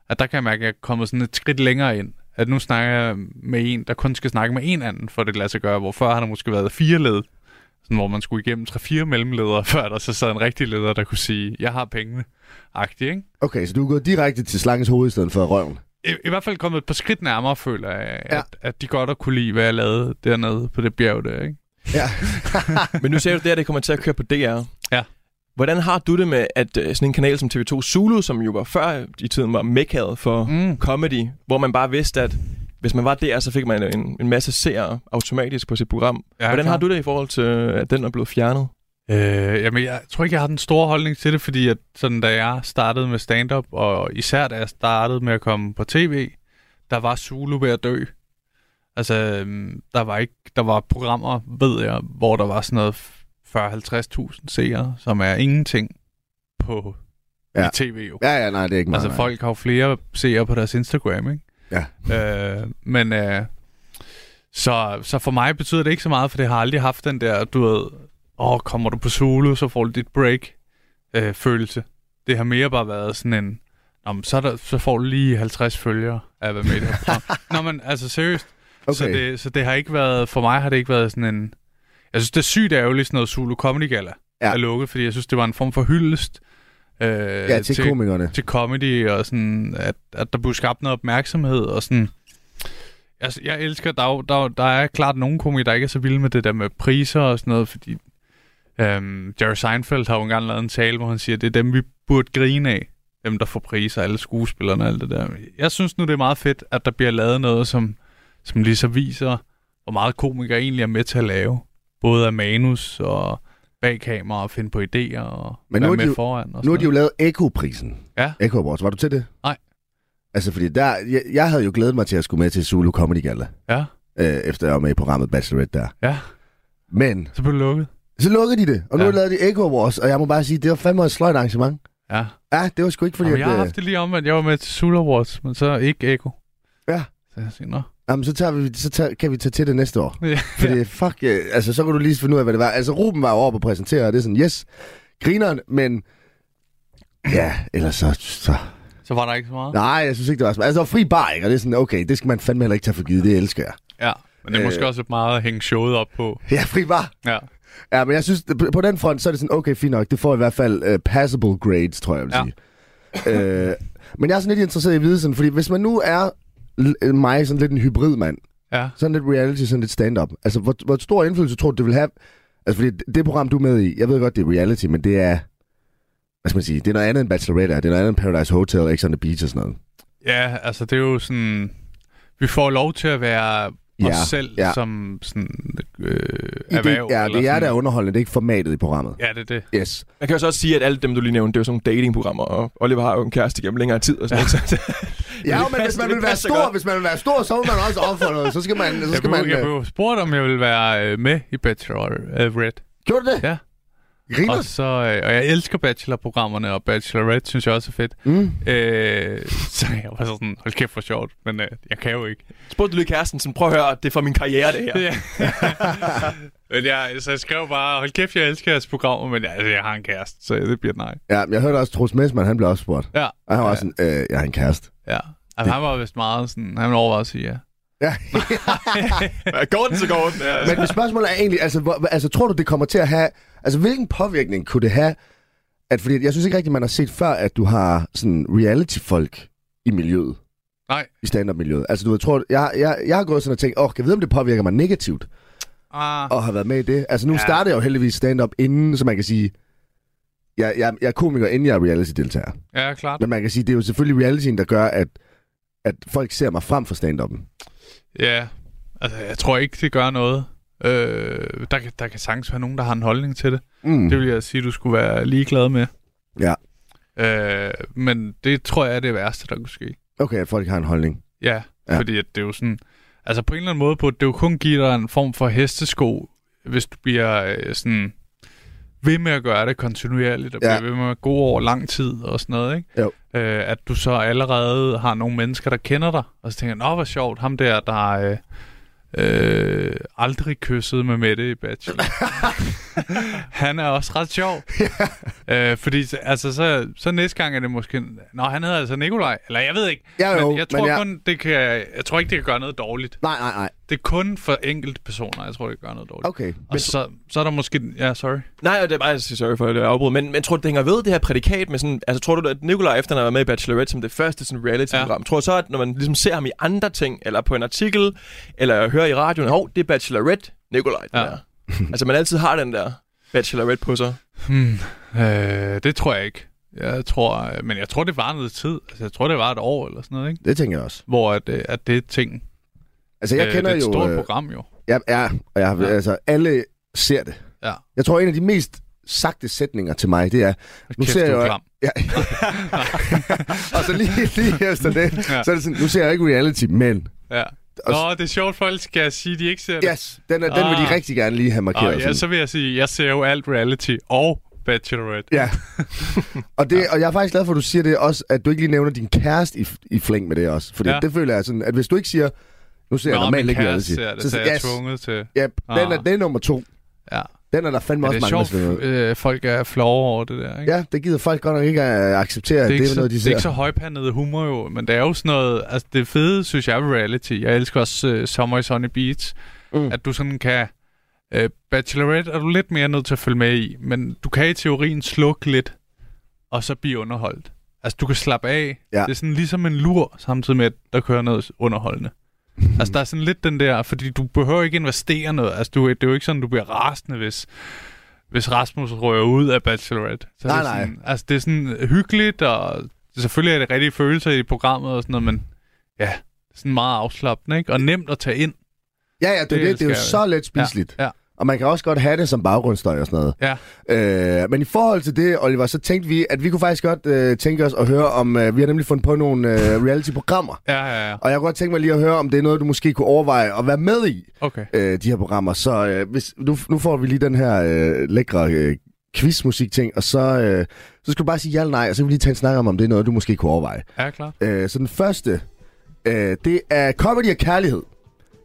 At der kan jeg mærke, at jeg er kommet sådan et skridt længere ind. At nu snakker jeg med en, der kun skal snakke med en anden, for det lader sig gøre. Hvor før har der måske været fire led sådan, hvor man skulle igennem 3-4 mellemledere, <laughs> før der så sad en rigtig leder, der kunne sige, jeg har pengene, agtig, ikke? Okay, så du er gået direkte til slangens hoved i stedet for røven. I, I hvert fald kommet et par skridt nærmere, føler jeg, at, Ja. ja. at de godt har kunne lide, hvad jeg lavede dernede på det bjerg der, ikke? Ja. <laughs> Men nu ser du det, her, det kommer til at køre på DR. Ja. Hvordan har du det med, at øh, sådan en kanal som TV2 Zulu, som jo var før i tiden var mekkaget for Mm. mm. comedy, hvor man bare vidste, at hvis man var der, så fik man en, en masse seere automatisk på sit program. Ja, Ja, Hvordan klar. har du det i forhold til, at den er blevet fjernet? Øh, jamen, jeg tror ikke, jeg har den store holdning til det, fordi at, sådan, da jeg startede med stand-up, og især da jeg startede med at komme på tv, der var Zulu ved at dø. Altså, øhm, der var ikke, der var programmer, ved jeg, hvor der var sådan noget 40-50.000 seere, som er ingenting på Ja. ja. i tv jo. Ja, ja, nej, det er ikke meget. altså, nej. folk har jo flere seere på deres <laughs> Instagram, ikke? Øh, men øh, så, så for mig betyder det ikke så meget, for det har aldrig haft den der, du ved, åh, kommer du på solo, så får du dit break øh, følelse. Det har mere bare været sådan en, Nå, men så, er der, så får du lige 50 følgere af at være med i det her <laughs> program." Nå, men altså seriøst. Okay. Okay. Så, det, så det har ikke været, for mig har det ikke været sådan en, jeg synes det er sygt ærgerligt sådan noget Zulu Comedy Gala Ja. ja. er lukket, fordi jeg synes det var en form for hyldest øh, ja, til, til komikerne. til comedy, og sådan, at, at der blev skabt noget opmærksomhed, og sådan... Altså, jeg elsker, der, er jo- der, er jo- der er klart nogle komikere, der ikke er så vilde med det der med priser og sådan noget, fordi øhm, Jerry Seinfeld har jo engang lavet en tale, hvor han siger, at det er dem, vi burde grine af, dem, der får priser, alle skuespillerne og alt det der. Jeg synes nu, det er meget fedt, at der bliver lavet noget, som, som lige så viser, hvor meget komikere egentlig er med til at lave. Både af manus og bag kamera og finde på idéer og Men Men nu være er de med jo- foran. Og Nu har sådan de jo lavet Eko-prisen. Ja. Eko Awards. Var du til det? Nej. Altså, fordi der, jeg, jeg havde jo glædet mig til at skulle med til Zulu Comedy Gala, Ja, øh, efter jeg var med i programmet Bachelorette der. ja. Men Så blev det lukket. så lukkede de det, og nu Ja. ja. lavede de Echo Awards, og jeg må bare sige, det var fandme et sløjt arrangement. Ja. Ja, det var sgu ikke fordi, Fordi Jamen, jeg har at, øh, haft det lige omvendt. Jeg var med til Sula Awards, men så ikke Eko. Ja. Så jeg siger, nå. Jamen, så, tager vi, så tager, kan vi tage til det næste år. Ja. Fordi ja. fuck, øh, altså, så kunne du lige finde ud af, hvad det var. Altså, Ruben var jo oppe og præsentere, og det er sådan, yes, grineren, men... Ja, eller så, så... Så var der ikke så meget. Nej, jeg synes ikke, det var så... Altså, der var fri bar, ikke? Og det er sådan, okay, det skal man fandme heller ikke tage for givet, det elsker jeg. <laughs> Ja. Men Øh. det er måske også lidt meget at hænge showet op på. Ja, fri bar. Ja. Ja, men jeg synes, på- på den front, så er det sådan, okay, fint nok, det får i hvert fald uh, passable grades, tror jeg, jeg vil sige. øh, men jeg er sådan lidt interesseret i at vide sådan, fordi hvis man nu er l- mig sådan lidt en hybrid mand, Ja. sådan lidt reality, sådan lidt stand-up, altså hvor, hvor stor indflydelse tror du, det vil have? Altså fordi det- det program, du er med i, jeg ved godt, det er reality, men det er, hvad skal man sige, det er noget andet end Bachelorette, er, det er noget andet end Paradise Hotel, X on the Beach og sådan noget. Ja, altså det er jo sådan... Vi får lov til at være os Ja, selv ja. som sådan I øh, det, erhverv. ja, eller det er jer, sådan. der er underholdende, det er ikke formatet i programmet. Ja, det er det. Yes. Man kan jo så også sige, at alle dem, du lige nævnte, det er jo sådan nogle datingprogrammer, og Oliver har jo en kæreste gennem længere tid. Og sådan, ja. <laughs> så, Ja, det men hvis passer- man det vil være passer stor, godt. hvis man vil være stor, så vil man også ofre noget. Så skal man, så Jeg skal blev, man... jeg øh, blev spurgt, om jeg ville være øh, med i Bachelor øh, Red. Gjorde du det? Ja. Og, Griner? så, øh, og jeg elsker bachelorprogrammerne, og Bachelorette synes jeg også er fedt. Mm. Øh, <laughs> så jeg var sådan, hold kæft for sjovt, men øh, jeg kan jo ikke. spurgte du lige kæresten, sådan, prøv at høre, det er for min karriere, det her. Ja. <laughs> men jeg, så jeg skrev bare, hold kæft, jeg elsker jeres programmer, men jeg, altså, jeg har en kæreste, så det bliver et nej. Ja, men jeg hørte også Troels Messmann, han blev også spurgt. Ja, Og han var også sådan, øh, jeg har en kæreste. ja. Altså, han var vist meget sådan, han overvejede at sige <laughs> ja. Ja. <laughs> Ja. <laughs> Går den, så går den. Ja. men mit spørgsmål er egentlig, altså, hvor, altså, tror du, det kommer til at have... Altså, hvilken påvirkning kunne det have? At, fordi jeg synes ikke rigtigt, man har set før, at du har sådan reality-folk i miljøet. Nej. I stand-up-miljøet. Altså, du ved, tror, jeg, jeg, jeg har gået sådan og tænkt, åh, oh, kan jeg vide, om det påvirker mig negativt Ah, at have været med i det? Altså, nu Ja. ja. startede jeg jo heldigvis stand-up inden, så man kan sige, jeg, jeg, jeg er komiker, inden jeg er reality-deltager. ja, klart. Men man kan sige, det er jo selvfølgelig realityen, der gør, at, at folk ser mig frem for stand-up'en. Ja, altså, jeg tror ikke, det gør noget. Øh, der, kan- der kan sagtens være nogen, der har en holdning til det. Mm. Det vil jeg sige, du skulle være ligeglad med. Ja. Øh, men det tror jeg er det værste, der kunne ske. Okay, at folk har en holdning. Ja, ja. Ja. fordi at det er jo sådan... Altså på en eller anden måde burde det jo kun give dig en form for hestesko, hvis du bliver øh, sådan ved med at gøre det kontinuerligt, og Ja. bliver ved med at gå over lang tid og sådan noget, ikke? Jo. Øh, at du så allerede har nogle mennesker, der kender dig, og så tænker, nå, hvor sjovt, ham der, der øh, øh, aldrig kyssede med Mette i <laughs> Bachelor. han er også ret sjov. øh, fordi så- altså, så, så næste gang er det måske... Nå, han hedder altså Nikolaj. Eller jeg ved ikke. Ja, jo, men jeg tror men jeg- kun, det kan... Jeg tror ikke, det kan gøre noget dårligt. Nej, nej, nej. Det er kun for enkelte personer, jeg tror, det kan gøre noget dårligt. Okay. Og så, så er der måske... Ja, sorry. Nej, og det er bare, sorry for at jeg afbryder, men, men tror du, det hænger ved det her prædikat med sådan, altså tror du, at Nikolaj efter han har været med i Bachelorette som det første sådan reality-program, ja. tror du så, at når man ligesom ser ham i andre ting, eller på en artikel, eller hører i radioen, hov, det er Bachelorette, Nikolaj, Ja. ja. der. altså man altid har den der Bachelorette på sig. Hmm, øh, det tror jeg ikke. Jeg tror... øh, Men jeg tror, det var noget tid. Altså, jeg tror, det var et år eller sådan noget, ikke? Det tænker jeg også. Hvor at, øh, at det er ting. Altså, jeg Øh, øh, kender det er et jo... stort øh, program, jo. Ja, ja, og jeg har, Ja. ja. altså, alle ser det. Ja. Jeg tror, en af de mest sagte sætninger til mig, det er... Nu Kæft, ser du jeg er jo- klam. Ja. <laughs> og så lige, lige efter det, Ja. ja. så er det sådan, nu ser jeg ikke reality, men... Ja. Og Nå, det er sjovt, folk skal sige, at de ikke ser det. Yes, den, er, den vil Ah. de rigtig gerne lige have markeret. Og ja, sådan. så vil jeg sige, at jeg ser jo alt reality og Bachelorette. <laughs> Ja. og, det, ja. og jeg er faktisk glad for, at du siger det også, at du ikke lige nævner din kæreste i, i flæng med det også. Fordi Ja. ja. det føler jeg sådan, at hvis du ikke siger, nu ser jeg Nå, normalt min ikke kæreste reality. ser det, så, jeg er tvunget til. Yep, den, Ah. er, den er nummer to. Ja. Den er der fandme Men også det er mange, der sjovt, skal med. øh, folk er flove over det der, ikke? Ja, det gider folk godt nok ikke at acceptere, at det, er det, ikke det er så, noget, de det ser. er ikke så højpandet humor jo, men det er jo sådan noget, altså det fede, synes jeg, ved reality. Jeg elsker også uh, Summer i Sunny Beach, mm. Mm. at du sådan kan, uh, Bachelorette er du lidt mere nødt til at følge med i, men du kan i teorien slukke lidt, og så blive underholdt. Altså du kan slappe af, ja. Ja. det er sådan ligesom en lur, samtidig med, at der kører noget underholdende. altså der er sådan lidt den der, fordi du behøver ikke investere noget, altså du, det er jo ikke sådan, du bliver rasende, hvis hvis Rasmus rører ud af Bachelorette. Så er Nej, det nej. Sådan, altså, det er sådan hyggeligt, og selvfølgelig er det rigtige følelser i programmet og sådan noget, men ja, det er sådan meget afslappende, ikke? Og nemt at tage ind. Ja, ja, det, Det det, det, det er elsker jo jeg, så let spiseligt. Ja, ja. Og man kan også godt have det som baggrundsstøj og sådan noget. Ja. Øh, men i forhold til det, Oliver, så tænkte vi, at vi kunne faktisk godt øh, tænke os at høre om... Øh, vi har nemlig fundet på nogle øh, reality-programmer. Ja, ja, ja. Og jeg kunne godt tænke mig lige at høre, om det er noget, du måske kunne overveje at være med i, Okay. øh, de her programmer. Så øh, hvis, nu, nu får vi lige den her øh, lækre øh, quizmusik-ting, og så, øh, så skal du bare sige ja eller nej, og så kan vi lige tage en snak om, om det er noget, du måske kunne overveje. Ja, klar. Øh, så den første, øh, det er Comedy og Kærlighed.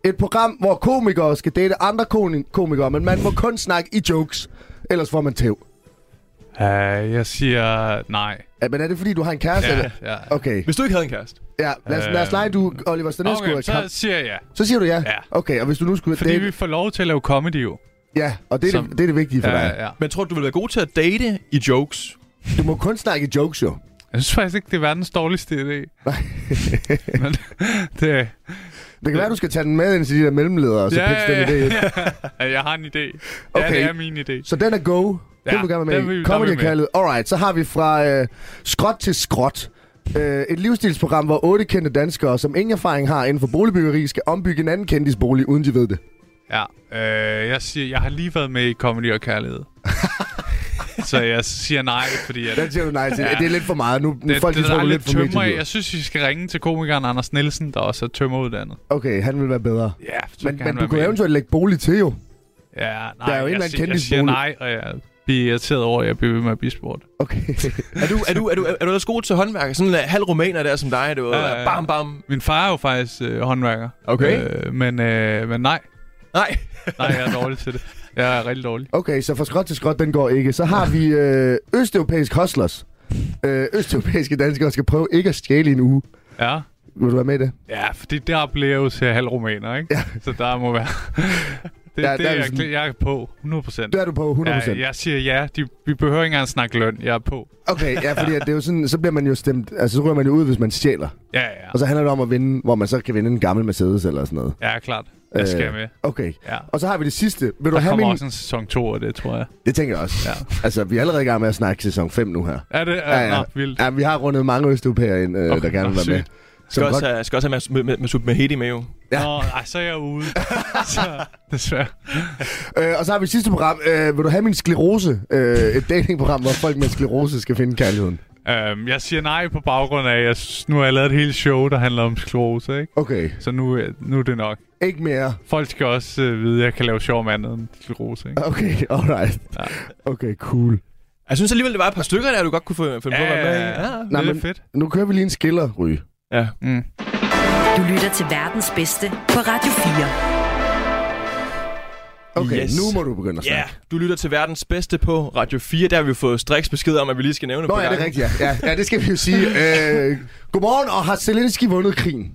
Et program, hvor komikere skal date andre kon- komikere, men man må kun snakke i jokes, ellers får man tæv. Uh, jeg siger nej. Ja, men er det fordi, du har en kæreste? Ja, eller? ja. Okay, Hvis du ikke havde en kæreste. ja, lad os, lad os lege, du, Oliver Stanescu. Okay, Okay, så siger jeg ja. så siger du ja? Ja. Okay, og hvis du nu skulle Fordi date... vi får lov til at lave comedy jo. Ja, og det er, Som- det, det, er det vigtige for Ja, dig. ja. Men tror du, du ville være god til at date i jokes? Du må kun snakke i jokes, jo. Jeg synes faktisk ikke, det er verdens dårligste idé. Nej. <laughs> Men det, Det kan være, du skal tage den med ind til de der mellemledere, og så Ja, pitche ja, den idé. ind. ja, jeg har en idé. Ja, Okay. det er min idé. Så den er go. Ja, den Ja, vil gerne være den vil med i. vi- Comedy er der vil vi med. kaldet. Alright, så har vi fra øh, skråt til skråt. Øh, et livsstilsprogram, hvor otte kendte danskere, som ingen erfaring har inden for boligbyggeri, skal ombygge en anden kendisbolig, uden de ved det. Ja. Øh, jeg siger, jeg har lige været med i Comedy <laughs> og Kærlighed. så jeg siger nej, fordi at, Den siger du nej til. Ja. Det er lidt for meget. Nu, nu det, folk de det, der tror, er du er lidt lidt for tømmer. i. altså. medielivet. Jeg synes, vi skal ringe til komikeren Anders Nielsen, der også er tømmeruddannet. Okay, han vil være bedre. Ja, Men, men du kunne eventuelt lægge bolig til jo. Ja, nej, der er jo en eller jeg, anden siger, jeg kendis siger bolig. nej, og jeg bliver irriteret over, at jeg bliver ved med at blive spurgt. Okay. <laughs> Er du, er du, er du, er du også god til håndværk? Sådan en halv rumæner der som dig, du ja, Ja, ja, ja. ja. Bam, bam. Min far er jo faktisk øh, håndværker. Okay. Øh, men, øh, men nej, Nej. nej, jeg er dårlig til det. Jeg er rigtig dårlig. Okay, så fra skråt til skråt, den går ikke. Så har vi øh, østeuropæisk hustlers. Øh, østeuropæiske danskere skal prøve ikke at stjæle i en uge. Ja. Vil du være med i det? Ja, fordi der blev jeg jo til halv romaner, ikke? Ja. Så der må <laughs> være... det, Der- ja, det der er der er vi jeg, sådan- sådan... jeg er på, 100 procent. Det er du på 100%. Ja, jeg siger ja, de, vi behøver ikke engang snakke løn, jeg er på. Okay, ja, fordi at det er jo sådan, så bliver man jo stemt, altså så ryger man jo ud, hvis man stjæler. Ja, ja, Og så handler det om at vinde, hvor man så kan vinde en gammel Mercedes eller sådan noget. ja, klart. Jeg skal med. Okay. Ja. Og så har vi det sidste. Vil du Der Øh. have kommer min... min... også en sæson 2 af det, tror jeg. Det tænker jeg også. Ja. Altså, vi er allerede i gang med at snakke sæson 5 nu her. Er det? Ja, ja. Nå, vildt. ja, vi har rundet mange østeuropæere ind, øh, der gerne vil nå, være med. sygt. Skal Som også, godt, have, skal også have med, med, med, med Hedi med jo. Ja. Nå, ej, så er jeg <laughs> ude. så, desværre. øh, og så har vi sidste program. Øh, vil du have min sklerose? Øh, et datingprogram, hvor folk med sklerose skal finde kærligheden. Øhm, jeg siger nej på baggrund af, at jeg synes, nu har jeg lavet et helt show, der handler om sklerose, ikke? Okay, Så nu, er- nu er det nok. ikke mere. Folk skal også øh, vide, at jeg kan lave sjov med andet end sklerose, ikke? Okay, alright. Ja. Okay, cool. Jeg synes alligevel, det var et par stykker der, du godt kunne få- finde på at være med. i. ja. Nej, Det er men- fedt. Nu kører vi lige en skiller, Ry. ja. Mm. Du lytter til verdens bedste på Radio 4. Okay, Yes. nu må du begynde at snakke. Ja, yeah. du lytter til verdens bedste på Radio 4. Der har vi fået striks besked om, at vi lige skal nævne et Nå, par ja, det er gange. rigtigt, ja. ja. Ja, det skal vi jo <laughs> sige. Øh, godmorgen, og har Zelensky vundet krigen?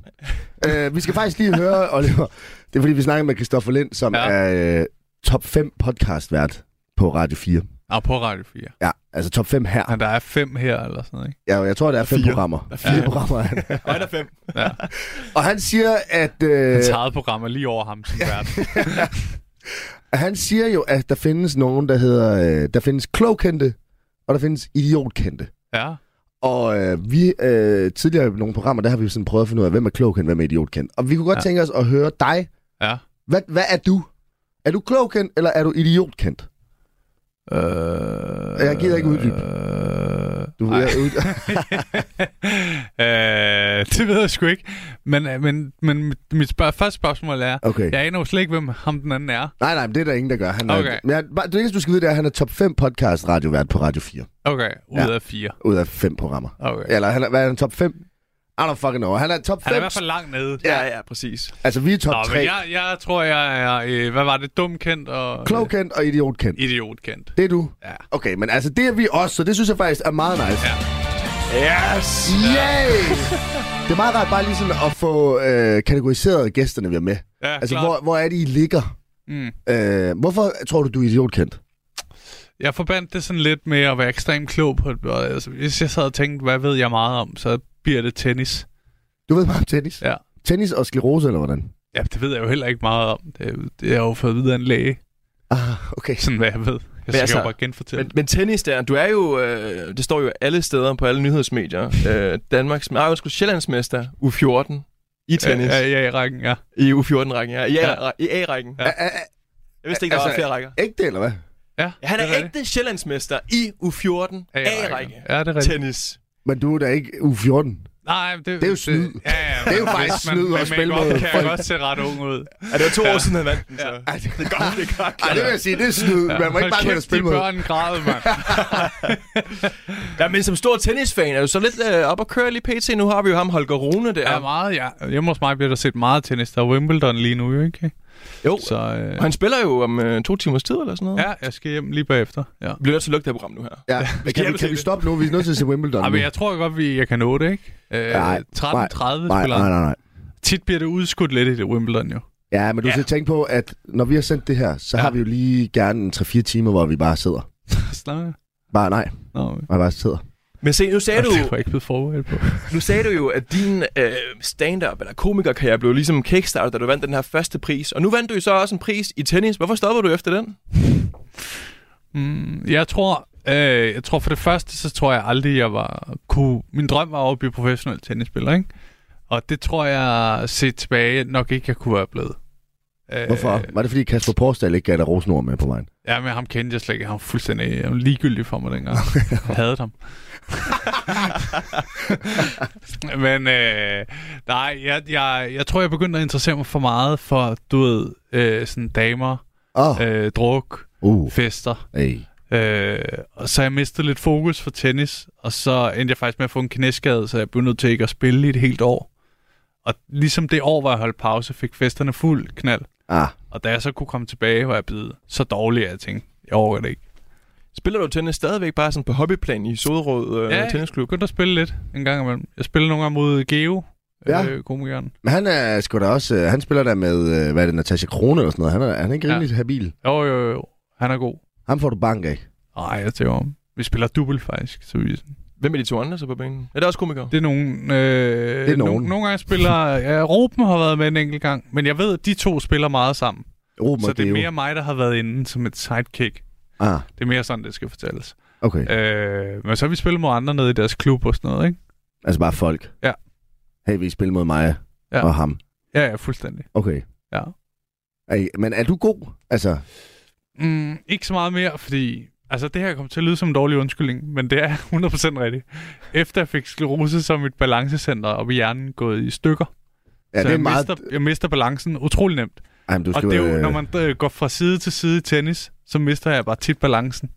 Øh, vi skal faktisk lige høre, Oliver. Det er fordi, vi snakker med Christoffer Lind, som ja. Ja. er øh, top 5 podcastvært på Radio 4. Ah, på Radio 4. Ja, altså top 5 her. Men der er fem her eller sådan noget, ikke? Ja, jeg tror, der er fem Fire. programmer. Der er Fire fire. programmer. han. Og han er fem. Ja. <laughs> Og han siger, at... Øh, Hans eget program er lige over ham som vært. han siger jo, at der findes nogen, der hedder... Øh, der findes klogkendte, og der findes idiotkendte. Ja. Og øh, vi øh, tidligere i nogle programmer, der har vi sådan prøvet at finde ud af, hvem er klogkendt, hvem er idiotkendt. Og vi kunne godt ja. Ja. tænke os at høre dig Ja. <laughs> Hvad, hvad er du? Er du klogkendt, eller er du idiotkendt? Øh, Jeg gider ikke uddybe. Øh, Du er ud... <laughs> øh, det ved jeg sgu ikke. Men, øh, men, men mit, mit spørg- første spørgsmål er, Okay. Ja. jeg aner jo slet ikke, hvem ham den anden er. Nej, nej, men det er der ingen, der gør. Han er, Okay. men jeg, bare- det eneste, du skal vide, det er, at han er top 5 podcast radiovært på Radio 4. Okay, ud Ja. af fire. Ud af fem programmer. Okay. Eller han er, hvad er han, top 5? I don't fucking know. Han er top 5. Han er i hvert fald langt nede. Ja, ja, præcis. Altså, vi er top Nå, 3. men Jeg... jeg, jeg tror, jeg er, øh, hvad var det, dumkendt og Klogkendt og idiotkendt. øh, idiotkendt. Det er du? Ja. Okay, men altså, det er vi også, så det synes jeg faktisk er meget nice. Ja. Yes! Yay! det er meget rart bare lige sådan at få øh, kategoriseret gæsterne, vi har med. Ja, Altså, klart. hvor, hvor er det, I ligger? Mm. Øh, hvorfor tror du, du er idiotkendt? Jeg forbandt det sådan lidt med at være ekstremt klog på det. Og, Altså, hvis jeg sad og tænkte, hvad ved jeg meget om, så bliver det tennis. Du ved meget om tennis? Ja. Tennis og sklerose, eller hvordan? Ja, det ved jeg jo heller ikke meget om. Det, er jo- det har jeg jo fået videre en læge, Ah, okay. sådan hvad jeg ved. Jeg skal altså, jo bare genfortælle. Men, Men, men tennis der, du er jo, øh, det står jo alle steder på alle nyhedsmedier. Øh, Danmarks, nej, undskyld, Sjællandsmester U14 i tennis. Ja, ja, i rækken, ja. I U14-rækken, ja. I Ja. A- I A-rækken. Ja. Er- er- Jeg vidste ikke, der altså, var flere rækker. Ægte, eller hvad? Ja, Ja, han det er rigtigt. ægte Sjællandsmester i U14 A-række. A-række. Ja, det er rigtigt. Tennis. Men du er da ikke U14. Nej, det, Det er jo snyd. Ja, ja, Det er jo men- faktisk men- snyd at men spille make-up mod kan folk. folk. godt se ret ung ud. Ja, det var to år siden, han vandt den, så. Ej, det, Det er godt, det er godt. ej, det vil jeg sige, det er snyd. Man må ikke bare gå ind og spille mod. de børn græd, mand. Ja, men som stor tennisfan er du så lidt øh, op at køre lige pt. Nu har vi jo ham, Holger Rune, der. Ja, meget, ja. Hjemme hos mig bliver der set meget tennis. Der er Wimbledon lige nu, jo ikke? jo, Så øh, og han spiller jo om øh, to timers tid eller sådan noget. ja, jeg skal hjem lige bagefter. Ja. Vi bliver nødt til at lukke det her program nu her. Ja, vi kan, vi, hjælpe kan til vi det? stoppe nu? Vi er nødt til at se Wimbledon. Ej, nu. men jeg tror godt, vi, jeg kan nå det, ikke? Øh, Nej, 13.30 nej, spiller. nej, nej, nej. Tit bliver det udskudt lidt i det Wimbledon, jo. <laughs> Ja, men du skal tænke på, at når vi har sendt det her, så Ja. har vi jo lige gerne en 3-4 timer, hvor vi bare sidder. Slag. Bare nej, Nå, men- man bare sidder. Men se, nu sagde, du, det var jeg ikke blevet forberedt på. nu sagde du jo, at din øh, stand-up eller komikerkarriere blev ligesom kickstarter, da du vandt den her første pris. Og nu vandt du jo så også en pris i tennis. Hvorfor stopper du efter den? Mm, jeg tror, øh, jeg tror for det første, så tror jeg aldrig, jeg var kunne, min drøm var at blive professionel tennisspiller, ikke? Og det tror jeg, set tilbage, nok ikke jeg kunne være blevet. Øh, Hvorfor? Var det fordi Kasper Porsdal ikke gav dig rosenord med på vejen? Ja, men ham kendte jeg slet ikke. Han var fuldstændig han var ligegyldig for mig dengang. Jeg havde ham. men øh, nej, jeg, jeg, jeg tror, jeg begyndte at interessere mig for meget for, du ved, øh, sådan damer, Åh, oh, øh, druk, uh, fester. ey. Øh, og så jeg mistede lidt fokus for tennis, og så endte jeg faktisk med at få en knæskade, så jeg blev nødt til ikke at spille i et helt år. Og ligesom det år, hvor jeg holdt pause, fik festerne fuld knald. Ah, Og da jeg så kunne komme tilbage, var jeg blevet så dårlig, at jeg tænkte, jeg overgår det ikke. Spiller du tennis stadigvæk bare sådan på hobbyplan i Soderød øh, ja, jeg Tennisklub? begyndte at spille lidt en gang imellem. Jeg spillede nogle gange mod Geo, Ja. ja. øh, komikeren. men han er sgu da også, øh, han spiller der med, øh, hvad er det, Natasha Krone eller sådan noget. Han er, han er ikke Ja. rimelig habil. Jo, jo, jo. Han er god. Ham får du bank af. Ej, jeg tænker om. Vi spiller dubbel faktisk, så vi Hvem er de to andre så på banen? Er det også komikere? Det er nogen... Øh, det er nogen. Nogle gange spiller... Ja, Ruben har været med en enkelt gang, men jeg ved, at de to spiller meget sammen. Ruben så og det er Geo. mere mig, der har været inde som et sidekick. Ah, Det er mere sådan, det skal fortælles. okay. Øh, men så har vi spillet mod andre nede i deres klub og sådan noget, ikke? Altså bare folk. Ja. Hey, vi spiller mod mig Ja. og ham. Ja, ja, fuldstændig. Okay. Ja. Ey, men er du god? Altså, Mm, ikke så meget mere, fordi... Altså, det her kommer til at lyde som en dårlig undskyldning, men det er <laughs> 100% rigtigt. Efter jeg fik sklerose, så er mit balancecenter op i hjernen gået i stykker. ja, så det er jeg, meget... mister, jeg mister balancen utrolig nemt. Ej, men du Og skal det er jo, øh, når man øh, går fra side til side i tennis, så mister jeg bare tit balancen.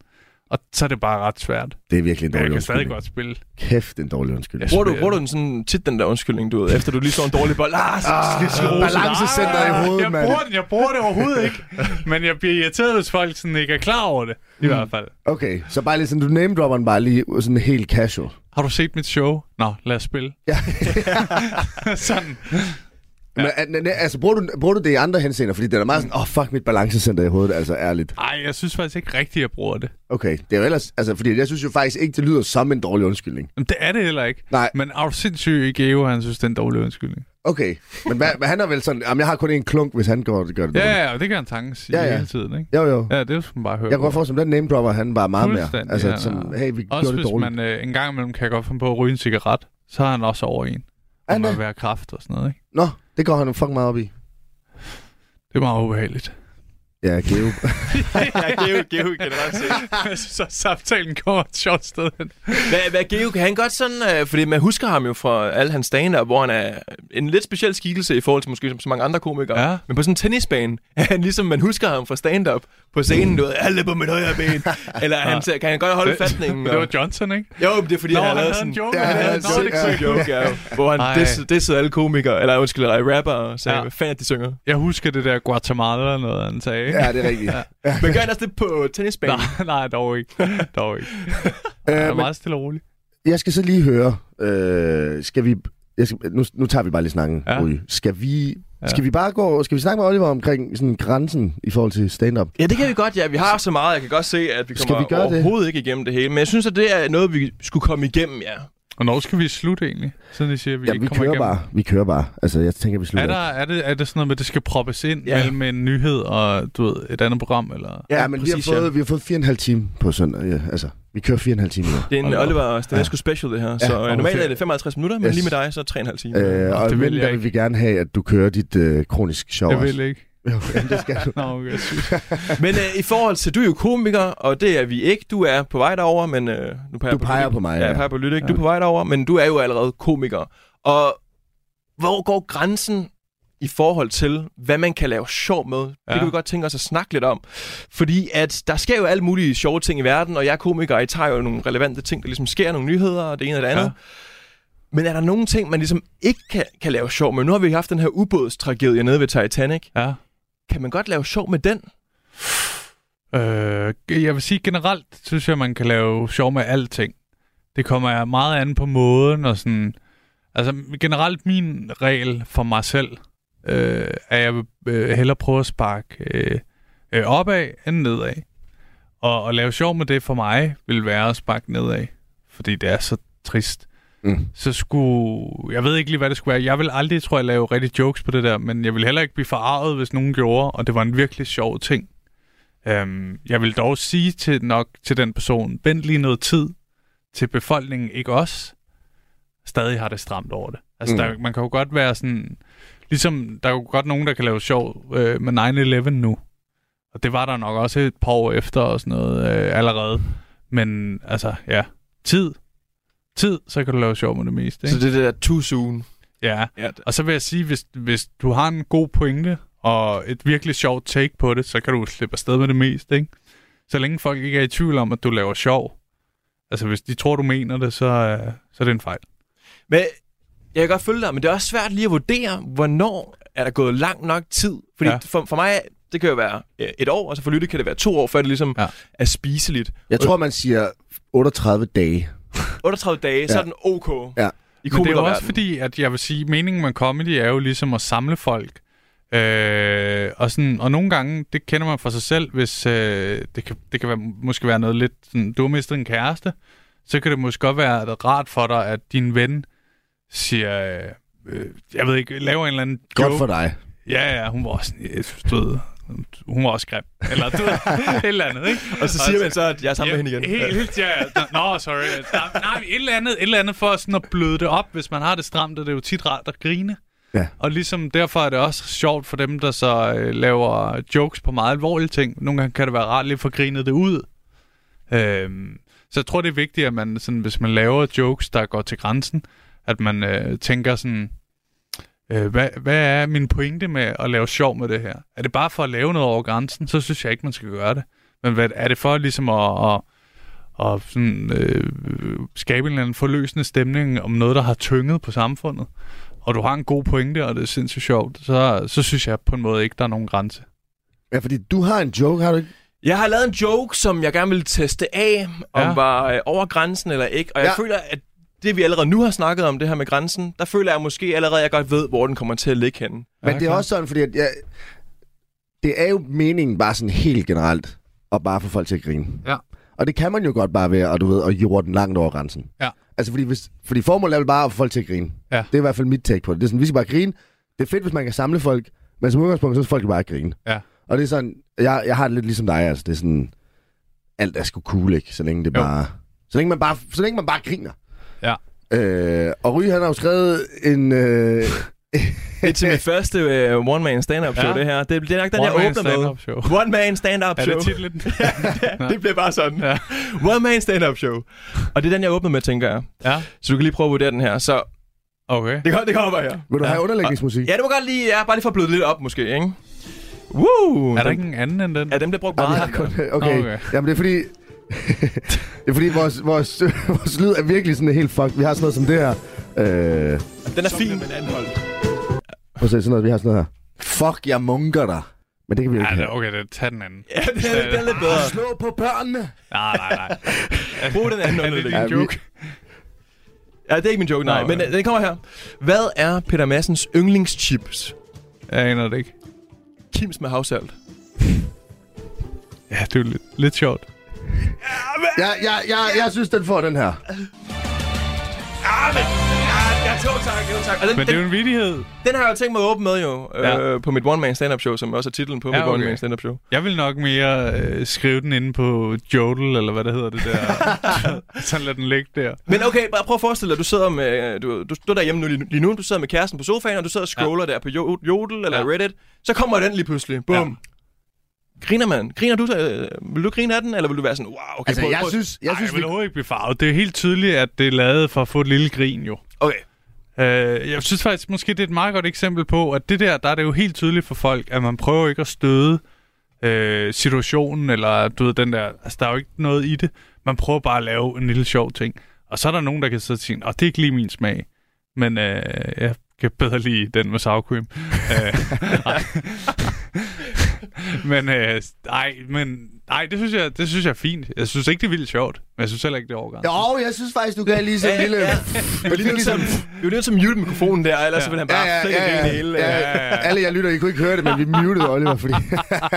Og så er det bare ret svært. Det er virkelig en Men jeg dårlig kan stadig undskyldning. godt spille. Kæft, en dårlig undskyldning. Jeg Bruger du, spiller- bruger du den sådan tit den der undskyldning, du ved, efter du lige så en dårlig bold? Ah, så, <laughs> ah, så, Balancecenteret i hovedet, jeg mand. bruger den, jeg bruger det <laughs> overhovedet ikke. Men jeg bliver irriteret, hvis folk sådan ikke er klar over det. Mm. I hvert fald. Okay, så bare lige sådan, du name dropper den bare lige sådan helt casual. Har du set mit show? Nå, lad os spille. Ja. <laughs> sådan. Men, al- al- altså, bruger du, bruger du det i andre henseender? Fordi det er meget sådan, åh, oh, fuck mit balancecenter i hovedet, altså ærligt. Ej, jeg synes faktisk ikke rigtigt, jeg bruger det. Okay, det er jo ellers, altså, fordi jeg synes jo faktisk ikke, det lyder som en dårlig undskyldning. Men det er det heller ikke. Nej. Men er du sindssyg i Geo, han synes, det er en dårlig undskyldning. Okay, men hvad, men han er vel sådan, jamen, jeg har kun en klunk, hvis han går, gør det Ja, dårligt. ja, og det kan han tanken sige Ja, ja, ja. ja. hele tiden, ikke? Jo, jo. Ja, det skal man bare høre Jeg kan på. godt forestille mig, den name dropper, han bare meget mere. Fuldstændig, Altså, ja, som, ja. hey, vi Også gjorde det hvis dårligt. man øh, en gang imellem kan godt finde på at ryge en cigaret, så har han også over en. Er Han han må det? være kraft og sådan noget, ikke? Nå, det går han jo fucking meget op i. Det er meget ubehageligt. Ja, <laughs> Geo. ja, Geo, Geo generelt set. Jeg <laughs> synes også, samtalen kommer et sjovt sted hen. Hvad, hvad Geo, kan han godt sådan... Øh, fordi man husker ham jo fra alle hans stand hvor han er en lidt speciel skikkelse i forhold til måske som så mange andre komikere. Ja. Men på sådan en tennisbane, <laughs> er han ligesom man husker ham fra stand-up på scenen, du ved, alle på mit højre <laughs> ben. Eller han, ser- kan han godt holde fatningen. det var og- Johnson, ikke? Jo, men det er fordi, Nå, han, han lavede havde sådan... en joke. Ja, han han havde havde en en joke. joke. joke, ja, hvor han Ej. dissede, dissede alle komikere, eller undskyld, rapper og sagde, Ja. hvad fanden er det, de synger. Jeg husker det der Guatemala eller noget, han sagde. ikke? Ja, det er rigtigt. Men gør han også det på tennisbanen? <laughs> nej, nej, dog ikke. Dog ikke. Han er Øh, men meget stille og rolig. jeg skal så lige høre, øh, skal vi... Jeg skal, nu, nu tager vi bare lige snakken, ja. Ja. Ryge. Skal vi... Skal vi bare gå... Skal vi snakke med Oliver omkring sådan grænsen i forhold til stand-up? Ja, det kan vi godt, ja. Vi har så meget, jeg kan godt se, at vi Skal kommer vi gøre det? overhovedet ikke igennem det hele. Men jeg synes, at det er noget, vi skulle komme igennem, ja. Og når skal vi slutte egentlig? Sådan de siger, at vi Ja, ikke vi kommer kører igennem. bare. Vi kører bare. Altså, jeg tænker, vi slutter. Er, der, er, det, er det sådan noget med, at det skal proppes ind Ja. ja. mellem en nyhed og du ved, et andet program? Eller? Ja, men præcis, vi, har fået, vi har fået fire og en halv time på søndag. Ja, altså, vi kører fire og en halv <laughs> time nu. Det er en Hold da op. Oliver Stanescu special, det her. Så øh, og normalt fedt. er det 55 minutter, men Yes. lige med dig, så 3,5 timer. Øh, og det det vil vil, jeg der vil ikke. vi gerne have, at du kører dit øh, kronisk show Jeg også. vil ikke. Jo, <laughs> jamen, det skal du. Nå, okay. sygt. Men øh, i forhold til, du er jo komiker, og det er vi ikke. Du er på vej derover, men... Øh, nu peger Du jeg på peger Lydik. på mig, Ja, ja. jeg peger på Lydik. Du er på vej derover, men du er jo allerede komiker. Og hvor går grænsen i forhold til, hvad man kan lave sjov med? Det Ja. kan vi godt tænke os at snakke lidt om. Fordi at der sker jo alle mulige sjove ting i verden, og jeg er komiker, og I tager jo nogle relevante ting, der ligesom sker, nogle nyheder og det ene og det andet. Ja. Ja. Men er der nogle ting, man ligesom ikke kan, kan lave sjov med? Nu har vi haft den her ubådstragedie nede ved Titanic. ja. Kan man godt lave sjov med den? Øh, jeg vil sige generelt, synes jeg, man kan lave sjov med alting. Det kommer meget an på måden og sådan... Altså generelt min regel for mig selv, øh, er jeg vil øh, hellere prøve at sparke øh, øh, opad end nedad. Og at lave sjov med det for mig, vil være at sparke nedad. Fordi det er så trist. Mm. Så skulle... Jeg ved ikke lige, hvad det skulle være. Jeg vil aldrig, tror jeg, lave rigtig jokes på det der, men jeg vil heller ikke blive forarvet, hvis nogen gjorde, og det var en virkelig sjov ting. Øhm, jeg vil dog sige til, nok til den person, vent lige noget tid til befolkningen, ikke os, stadig har det stramt over det. Altså, Mm. mm. der, man kan jo godt være sådan... Ligesom, der er jo godt nogen, der kan lave sjov øh, med 9-11 nu. Og det var der nok også et par år efter og sådan noget øh, allerede. Men altså, ja. Tid. Tid, så kan du lave sjov med det meste. Ikke? Så det er det der too soon. Ja. Ja, Og så vil jeg sige, hvis, hvis du har en god pointe og et virkelig sjovt take på det, så kan du slippe afsted med det meste, ikke? Så længe folk ikke er i tvivl om, at du laver sjov. Altså, hvis de tror, du mener det, så, øh, så er det en fejl. Men jeg kan godt følge dig, men det er også svært lige at vurdere, hvornår er der gået lang nok tid. Fordi Ja. ja. for, for mig, det kan jo være øh, et år, og så for Lytte kan det være to år, før det ligesom Ja. ja. er spiseligt. Jeg tror, man siger 38 dage. 38 dage, ja. så er den ok. Ja. I Men det er jo også komikerverdenen. fordi, at jeg vil sige, meningen med comedy er jo ligesom at samle folk. Øh, og, sådan, og nogle gange, det kender man for sig selv, hvis øh, det kan, det kan være, måske være noget lidt, sådan, du har mistet en kæreste, så kan det måske godt være rart for dig, at din ven siger, øh, øh, jeg ved ikke, laver en eller anden joke. Godt for dig. Ja, ja, hun var også sådan, "Jeg synes, du ved, hun var også grim. Eller du ved, <laughs> et eller andet, ikke? Og så siger man Altså, så, at jeg er sammen med hende igen. Helt, Ja. helt, ja. ja. Nå, sorry. Der, nej, et eller, andet, et eller andet for sådan at bløde det op, hvis man har det stramt, og det er jo tit rart at grine. Ja. Og ligesom derfor er det også sjovt for dem, der så øh, laver jokes på meget alvorlige ting. Nogle gange kan det være rart lige at få grinet det ud. Øhm, så jeg tror, det er vigtigt, at man, sådan, hvis man laver jokes, der går til grænsen, at man øh, tænker sådan, øh, hvad, hvad er min pointe med at lave sjov med det her? Er det bare for at lave noget over grænsen, så synes jeg ikke, man skal gøre det. Men hvad, er det for ligesom at, at, at sådan, øh, skabe en eller anden forløsende stemning om noget, der har tynget på samfundet? Og du har en god pointe, og det er sindssygt sjovt, så, så synes jeg på en måde ikke, der er nogen grænse. Ja, fordi du har en joke, har du ikke? Jeg har lavet en joke, som jeg gerne vil teste af, om Ja. ja. var øh, over grænsen eller ikke. Og jeg Ja. ja. føler, at det vi allerede nu har snakket om, det her med grænsen, der føler jeg måske allerede, at jeg godt ved, hvor den kommer til at ligge henne. Men Ja, det er klar. også sådan, fordi at jeg, det er jo meningen bare sådan helt generelt, at bare få folk til at grine. Ja. Og det kan man jo godt bare være, og du ved, at jorde den langt over grænsen. Ja. Altså, fordi, hvis, fordi formålet er vel bare at få folk til at grine. Ja. Det er i hvert fald mit take på det. Det er sådan, vi skal bare grine. Det er fedt, hvis man kan samle folk, men som udgangspunkt, så skal folk jo bare grine. Ja. Og det er sådan, jeg, jeg har det lidt ligesom dig, altså. Det er sådan, alt er sgu cool, ikke? Så længe det Jo. bare... Så længe man bare, så længe man bare griner. Ja. Øh, og Ry, han har jo skrevet en... Øh, Det er til <laughs> mit første øh, one-man stand-up show, Ja. ja. det her. Det, det er nok den, One man jeg åbner med. stand-up show. One-man <laughs> stand-up Er show. det titlen? <laughs> Ja. Det bliver bare sådan. Ja. Ja. <laughs> One man stand-up show. Og det er den, jeg åbner med, tænker jeg. ja, Så du kan lige prøve at vurdere den her. Så okay. det, kommer- det kommer her. vil du Ja. ja. have underlægningsmusik? Ja, det må godt lige, ja, bare lige for at bløde det lidt op, måske, ikke? Woo! Er der Den- ikke en anden end den? Ja, dem bliver brugt Nej, meget. vi har den kun... der. Okay. Okay. okay. Jamen, det er fordi... <laughs> det er fordi, vores, vores, vores lyd er virkelig sådan helt fucked. Vi har sådan noget som det her. Øh, Den er fin. prøv at se, sådan noget, vi har sådan noget her. Fuck, jeg munker dig. Men det kan vi jo ikke Ja, det, have. okay, det, tag den anden. Ja, den er, den er lidt bedre. Slå på børnene! Nej, nej, <laughs> nej. Brug den anden <laughs> Er underlæg. det din Ja, vi- joke? Ja, det er ikke min joke, nej. Nå, Men ja. øh, den kommer her. Hvad er Peter Massens yndlingschips? Jeg aner det ikke. Kims med havsalt. Ja, det er jo lidt, lidt sjovt. Jeg, jeg, jeg, jeg synes, den får den her. Ah, Ja, jo tak, jo tak. Og den, Men det er jo den, en vidighed. den har jeg jo tænkt mig at åbne med jo, øh, Ja. på mit one-man stand-up show, som også er titlen på Ja, mit okay. one-man stand-up show. Jeg vil nok mere øh, skrive den inde på Jodel, eller hvad det hedder det <laughs> der. Sådan lad den ligge der. Men okay, bare prøv at forestille dig, du sidder med, øh, du, du, du er derhjemme nu, lige nu, du sidder med kæresten på sofaen, og du sidder og scroller ja. der på Jo- Jodel eller Ja. ja. Reddit, så kommer den lige pludselig. Bum. Ja. Griner man? Griner du så? Øh, vil du grine af den, eller vil du være sådan, wow, okay, Altså, prøv, jeg prøv. synes, jeg Jeg synes, synes, Ej, jeg vi... vil overhovedet ikke blive farvet. Det er helt tydeligt, at det er lavet for at få et lille grin, jo. Okay. Øh, jeg synes faktisk, måske det er et meget godt eksempel på, at det der, der er det jo helt tydeligt for folk, at man prøver ikke at støde øh, situationen, eller du ved, den der, altså der er jo ikke noget i det. Man prøver bare at lave en lille sjov ting. Og så er der nogen, der kan sidde og sige, åh, det er ikke lige min smag, men øh, jeg kan bedre lide den med sour cream. Øh, ej. men øh, ej, men ej, det synes jeg, det synes jeg er fint. Jeg synes ikke, det er vildt sjovt, men jeg synes heller ikke, det er overgang. Jo, jeg synes faktisk, du kan lige sådan en lille... <laughs> Vi er jo nødt til Ligesom- at- vi er jo nødt til at mute mikrofonen der, ellers ja. så vil han bare ja, ja, ja, ja. det hele. ja, Ja. ja. Alle jeg lytter, I kunne ikke høre det, men vi mutede Oliver, fordi... <laughs>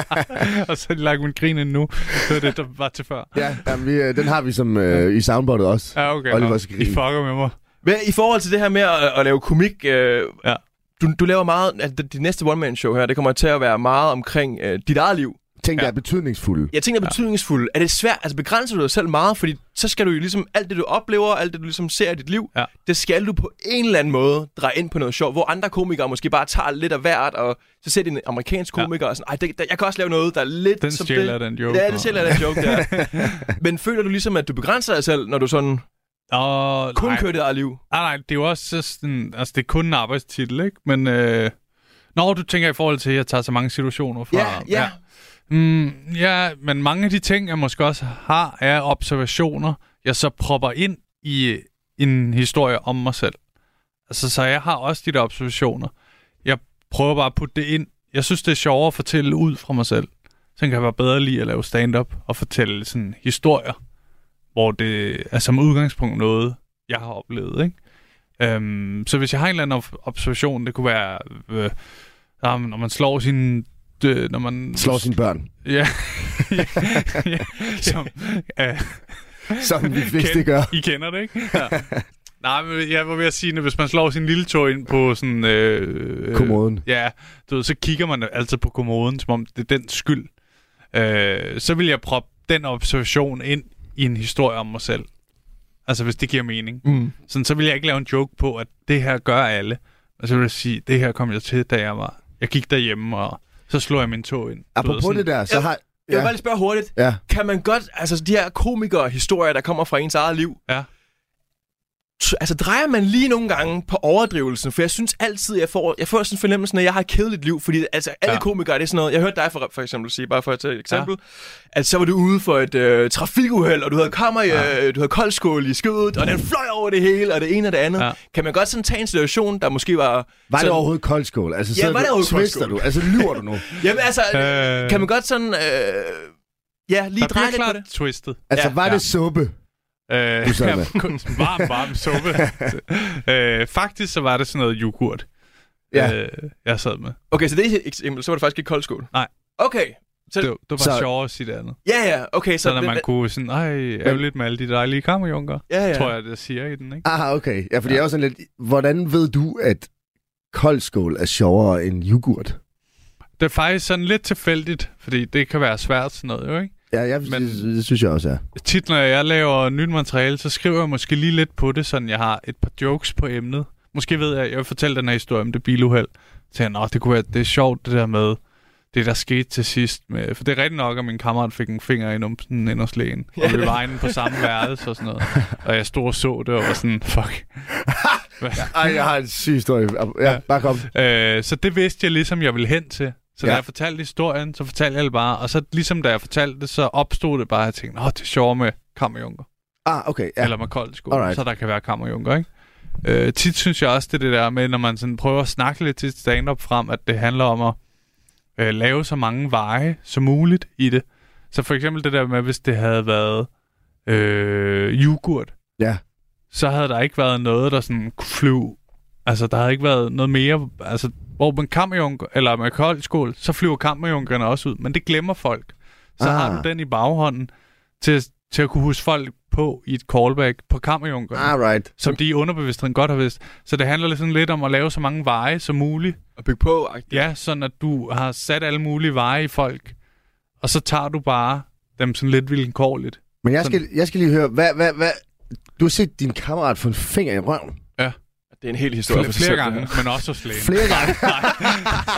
og så har de lagt min grin ind nu. Det var det, der var til før. ja, jamen, vi, øh, den har vi som øh, i soundboardet også. Ja, okay. Olivers nå. grin. I fucker med mig. Men i forhold til det her med at, at lave komik, øh, Ja. ja. du, du laver meget, altså det, det næste one-man-show her, det kommer til at være meget omkring øh, dit eget liv. Tænk, der Ja. er betydningsfulde. Jeg tænker, er betydningsfulde. Er det svært? Altså begrænser du dig selv meget? Fordi så skal du jo ligesom, alt det du oplever, alt det du ligesom ser i dit liv, Ja. det skal du på en eller anden måde dreje ind på noget sjovt, hvor andre komikere måske bare tager lidt af hvert, og så ser de en amerikansk Ja. komiker og sådan, Ej, det, der, jeg kan også lave noget, der er lidt Den som stjæler det. den joke. Ja, det stjæler den joke <laughs> der. Men føler du ligesom, at du begrænser dig selv, når du sådan Og, kun nej, kører dit eget liv? nej, nej, det er jo også så sådan... Altså, det er kun en arbejdstitel, ikke? Men... Øh, når du tænker i forhold til, at jeg tager så mange situationer fra... Ja, ja. Mm, ja, men mange af de ting, jeg måske også har, er observationer, jeg så propper ind i en historie om mig selv. Altså, så jeg har også de der observationer. Jeg prøver bare at putte det ind. Jeg synes, det er sjovere at fortælle ud fra mig selv. Så kan jeg bare bedre lide at lave stand-up og fortælle sådan historier, hvor det er som udgangspunkt noget, jeg har oplevet, ikke? Øhm, så hvis jeg har en eller anden ob- observation, det kunne være, øh, ah, men når man slår sin... Øh, når man Slår sine børn, <laughs> Ja. ja. Som, øh, som <laughs> vi fleste gør. I kender det, ikke? Ja. Nej, men jeg var ved at sige, at hvis man slår sin lille tog ind på sådan... Øh, øh, Kommoden. Ja, du ved, så kigger man altid på kommoden, som om det er den skyld. Øh, så vil jeg proppe den observation ind i en historie om mig selv. Altså, hvis det giver mening. Mm. Sådan, så vil jeg ikke lave en joke på, at det her gør alle. Og så vil jeg sige, det her kom jeg til, da jeg var... Jeg gik derhjemme, og så slog jeg min tog ind. Du ved, Øh, Apropos sådan- det der, så Ja. har... Jeg vil bare Ja, lige spørge hurtigt. ja. Kan man godt, altså de her komikere-historier, der kommer fra ens eget liv, Ja. t- altså drejer man lige nogle gange på overdrivelsen, for jeg synes altid, jeg får, jeg får sådan fornemmelsen, at jeg har et kedeligt liv, fordi altså, alle Ja. ja. komikere, det er sådan noget, jeg hørte dig for, for eksempel sige, bare for at tage et eksempel, ja. at så var du ude for et øh, trafikuheld, og du havde kammer, i, øh, du havde koldskål i skødet, og den fløj over det hele, og det ene og det andet. Ja. Ja. Kan man godt sådan tage en situation, der måske var... Var det sådan- overhovedet koldskål? Altså, Ja, sidder var det du- overhovedet twister koldskål? du? Altså, lyver du <laughs> nu? Jamen altså, øh, Øh, kan man godt sådan... Øh, ja, lige der dreje bliver lidt på klart det. twistet. Altså, Ja, var ja. det suppe? Øh, Du sad ja, med. kun varm, varm <laughs> suppe. øh, faktisk så var det sådan noget yoghurt, Ja. øh, jeg sad med. Okay, så det er et eksempel, så var det faktisk ikke koldskål. Nej. Okay, Det, det var Så- så, sjovere at sige det andet. ja ja, okay. Så Sådan, at det- man kunne sådan, ej, ærgerligt med alle de dejlige kammerjunker, ja, ja. ja. tror jeg, det siger i den, ikke? Aha, Ah, okay. Ja, fordi jeg er jo sådan lidt... Hvordan ved du, at koldskål er sjovere end yoghurt? Det er faktisk sådan lidt tilfældigt, fordi det kan være svært sådan noget, jo, ikke? Ja, jeg, Men- det, det synes jeg også er. Tit, når jeg laver nyt materiale, så skriver jeg måske lige lidt på det, sådan jeg har et par jokes på emnet. Måske ved jeg, jeg vil fortælle den her historie om det biluheld. Så tænker jeg, "Nå, det kunne være, det er sjovt det der med, det der skete til sidst. Med, for det er rigtigt nok, at min kammerat fik en finger i numsen ind hos lægen. Og vi var inde på samme værelse og sådan noget. Og jeg stod og så det og var sådan, fuck. <laughs> Ej, jeg har en syg historie. Ja, Ja. bare kom. Øh, så det vidste jeg ligesom, jeg ville hen til. Så ja. Ja. da jeg fortalte historien, så fortalte jeg det bare. Og så ligesom da jeg fortalte det, så opstod det bare, at jeg tænkte, åh, det er sjovt med kammerjunker. Ah, okay. ja. Ja. eller med kold skole, Alright. så der kan være kammerjunker, ikke? Øh, tit synes jeg også, det er det der med, når man sådan prøver at snakke lidt til stand-up frem, at det handler om at øh, lave så mange veje som muligt i det. Så for eksempel det der med, hvis det havde været øh, yoghurt, Ja. så havde der ikke været noget, der sådan kunne flyve. Altså, der havde ikke været noget mere... Altså, hvor man kammerjunker, eller med kold skål, så flyver kammerjunkerne også ud, men det glemmer folk. Så ah. har Ah. du den i baghånden til, til at kunne huske folk på i et callback på Kammerjunker, ah. Alright. som de i underbevidstheden godt har vidst. Så det handler lidt sådan lidt om at lave så mange veje som muligt. Og bygge på. -agtigt. Ja, sådan at du har sat alle mulige veje i folk, og så tager du bare dem sådan lidt vilkårligt. Men jeg skal, jeg skal lige høre, hvad, hvad, hvad... Du har set din kammerat få en finger i røven. Det er en hel historie for Flere, sig flere selv, gange, det her. men også hos lægen. Flere gange.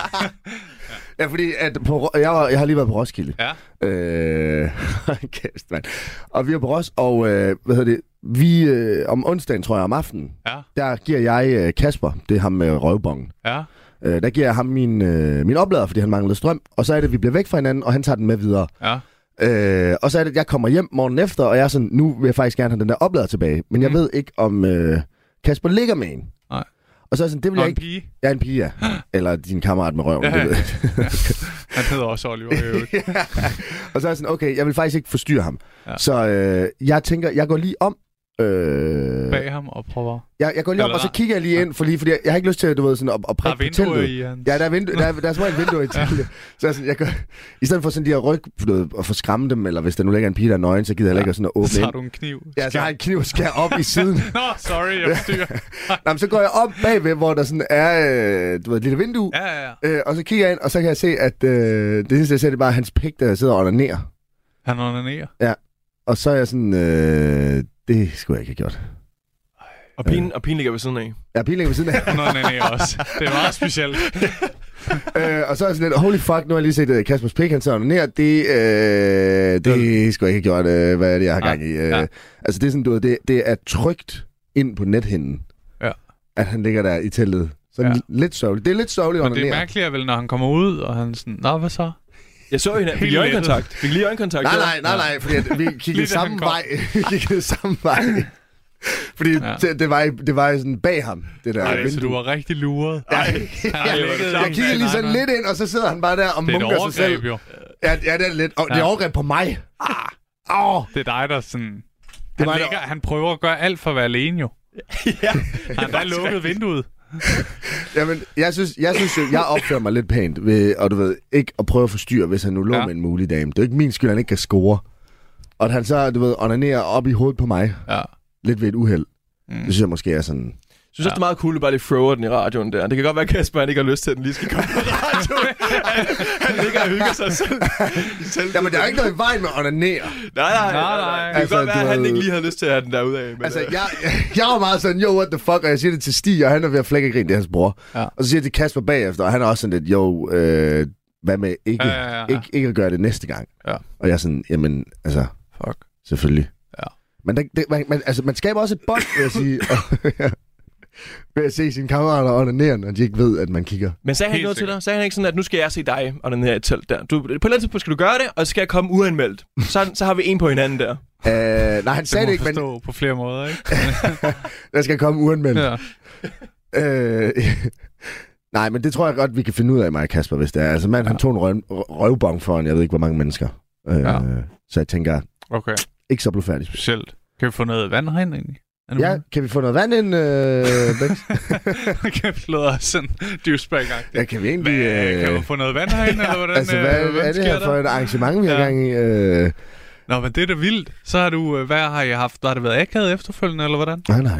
<laughs> ja, fordi at på, Ro- jeg, var, jeg har lige været på Roskilde. Ja. Øh, <laughs> kæft, mand. Og vi er på Ros, og øh, hvad hedder det? Vi, øh, om onsdagen, tror jeg, om aftenen, Ja. der giver jeg øh, Kasper, det er ham med røvbongen, Ja. øh, der giver jeg ham min, øh, min oplader, fordi han manglede strøm. Og så er det, at vi bliver væk fra hinanden, og han tager den med videre. Ja. Øh, og så er det, at jeg kommer hjem morgen efter, og jeg er sådan, nu vil jeg faktisk gerne have den der oplader tilbage. Men jeg Mm. ved ikke, om øh, Kasper ligger med en. Nej. Og så er jeg sådan, det vil Og jeg en ikke... pige. Jeg er en pige, ja. <gasps> Eller din kammerat med røven, Ja, ja, ja. det ved <laughs> jeg. Han hedder også Oliver. i øvrigt. Og så er jeg sådan, okay, jeg vil faktisk ikke forstyrre ham. Ja. Ja. Så øh, jeg tænker, jeg går lige om. Øh, Bag ham og prøver. jeg, jeg går lige om, Eller og så nej. kigger jeg lige ind, for lige, fordi jeg, jeg har ikke lyst til, at, du ved, sådan, at, at Der er prikke på vinduer teltet. i hans. Ja, der er, vindu- der, er, der er små et <laughs> vindue i teltet. Så jeg, er sådan, jeg går, I stedet for sådan lige at rykke du ved, og få skræmme dem, eller hvis der nu ligger en pige, der er nøgen, så gider jeg heller ikke at sådan at åbne Så har ind. du en kniv. Ja, så har jeg en kniv og skærer op <laughs> i siden. Nå, sorry, jeg forstyrrer. <laughs> Nå, men så går jeg op bagved, hvor der sådan er øh, du ved, et lille vindue. ja, ja, ja. Øh, og så kigger jeg ind, og så kan jeg se, at øh, det eneste, jeg ser, det er bare hans pik, der sidder og onanerer. Han onanerer. Og så er jeg sådan, øh, det skulle jeg ikke have gjort. Og pigen, og pigen ligger ved siden af. Jeg er pinlig ved siden <laughs> af. Han onanerer også. Det er meget specielt. <laughs> øh, og så er jeg sådan lidt, holy fuck, nu har jeg lige set øh, Kaspers pik, han sidder ned. Det, øh, det skulle jeg ikke have gjort. Øh, hvad er det, jeg har Nej, gang i? Øh, ja. Altså, det er sådan, du ved, det, det er trygt ind på nethinden, Ja. at han ligger der i teltet. Så Ja. ja. lidt sørgeligt. Det er lidt sørgeligt Men under det er Nej, mærkeligt, vel, når han kommer ud, og han sådan, Nå, hvad så? Jeg så hende. Vi Helt lige øjenkontakt. Vi lige øjenkontakt. der. nej, nej, nej, fordi <laughs> at vi Lige da kiggede han samme kom. vej. <laughs> vi kiggede samme vej. Fordi Ja. ja. det, det, var, i- det var i sådan bag ham, det der Ej, så vindue. du var rigtig luret. Ja. har ligget- <laughs> jeg kigger lige sådan lidt ind, og så sidder han bare der og Det er et munker sig selv. overgreb, jo. Ja, ja, det er lidt. Og, ja. Det Ja. er overgreb på mig. Ah, oh, Det er dig, der sådan... Han, var det- ligger, han prøver at gøre alt for at være alene, <laughs> jo. ja. Han har lukket vinduet. jamen, jeg synes, jeg, synes, jo, jeg opfører mig lidt pænt ved, og du ved, ikke at prøve at forstyrre, hvis han nu lå Ja. ja. med en mulig dame. Det er jo ikke min skyld, at han ikke kan score. Og at han så, du ved, onanerer op i hovedet på mig. Ja. Lidt ved et uheld. Mm. Det synes jeg måske er sådan... Jeg synes også, det er meget cool, at du bare lige thrower den i radioen der. Det kan godt være, at Kasper han ikke har lyst til, at den lige skal komme på radioen. han, han ligger og hygger sig selv. selv Jamen, der er jo ikke noget i vejen med at onanere. Nej, nej, nej. Nej, nej. nej. Det kan Altså, altså, godt være, du at han ved- ikke lige har lyst til at have den der ud af. Men, Altså, altså, øh. jeg, jeg var meget sådan, yo, what the fuck, og jeg siger det til Stig, og han er ved at flække og grine, det er hans bror. Ja. Ja. Og så siger jeg til Kasper bagefter, og han er også sådan lidt, yo, øh, hvad med ikke, Ja, ja, ja, ja. Ikke, ikke at gøre det næste gang? Ja. Og jeg er sådan, jamen, altså, Fuck. selvfølgelig. Ja. Men der, det, man, man, altså, man skaber også et bånd, vil jeg <laughs> sige, og, <laughs> ved at se sine kammerater onanere, når de ikke ved, at man kigger. men sagde han Helt ikke noget til sikkert. dig? Sagde han ikke sådan, at nu skal jeg se dig og den her i telt der? Du, på et eller andet tidspunkt skal du gøre det, og så skal jeg komme uanmeldt. Så, så har vi en på hinanden der. Øh, nej, han Det må sagde det ikke, men forstå på flere måder, ikke? der skal komme uanmeldt. Ja. Øh, <laughs> nej, men det tror jeg godt, vi kan finde ud af, mig og Kasper, hvis det er. Altså, mand, ja. han tog en røv, røvbong foran, jeg ved ikke, hvor mange mennesker. Øh, Ja. ja. Så jeg tænker, Okay, ikke så blodfærdigt. specielt. Kan vi få noget vand herinde, egentlig? Er det Ja, muligt? kan vi få noget vand ind, øh, <laughs> Bex? kan vi lade os sådan dyvsbæk ja, kan vi egentlig... Hvad, kan Øh, man få noget vand herinde, eller hvordan, altså, øh, hvad, hvad er det sker her for der? et arrangement, vi har Ja. gang i? Øh, Nå, men det er da vildt. Så har du, øh, hvad har jeg haft? Har det været akavet efterfølgende, eller hvordan? nej, nej.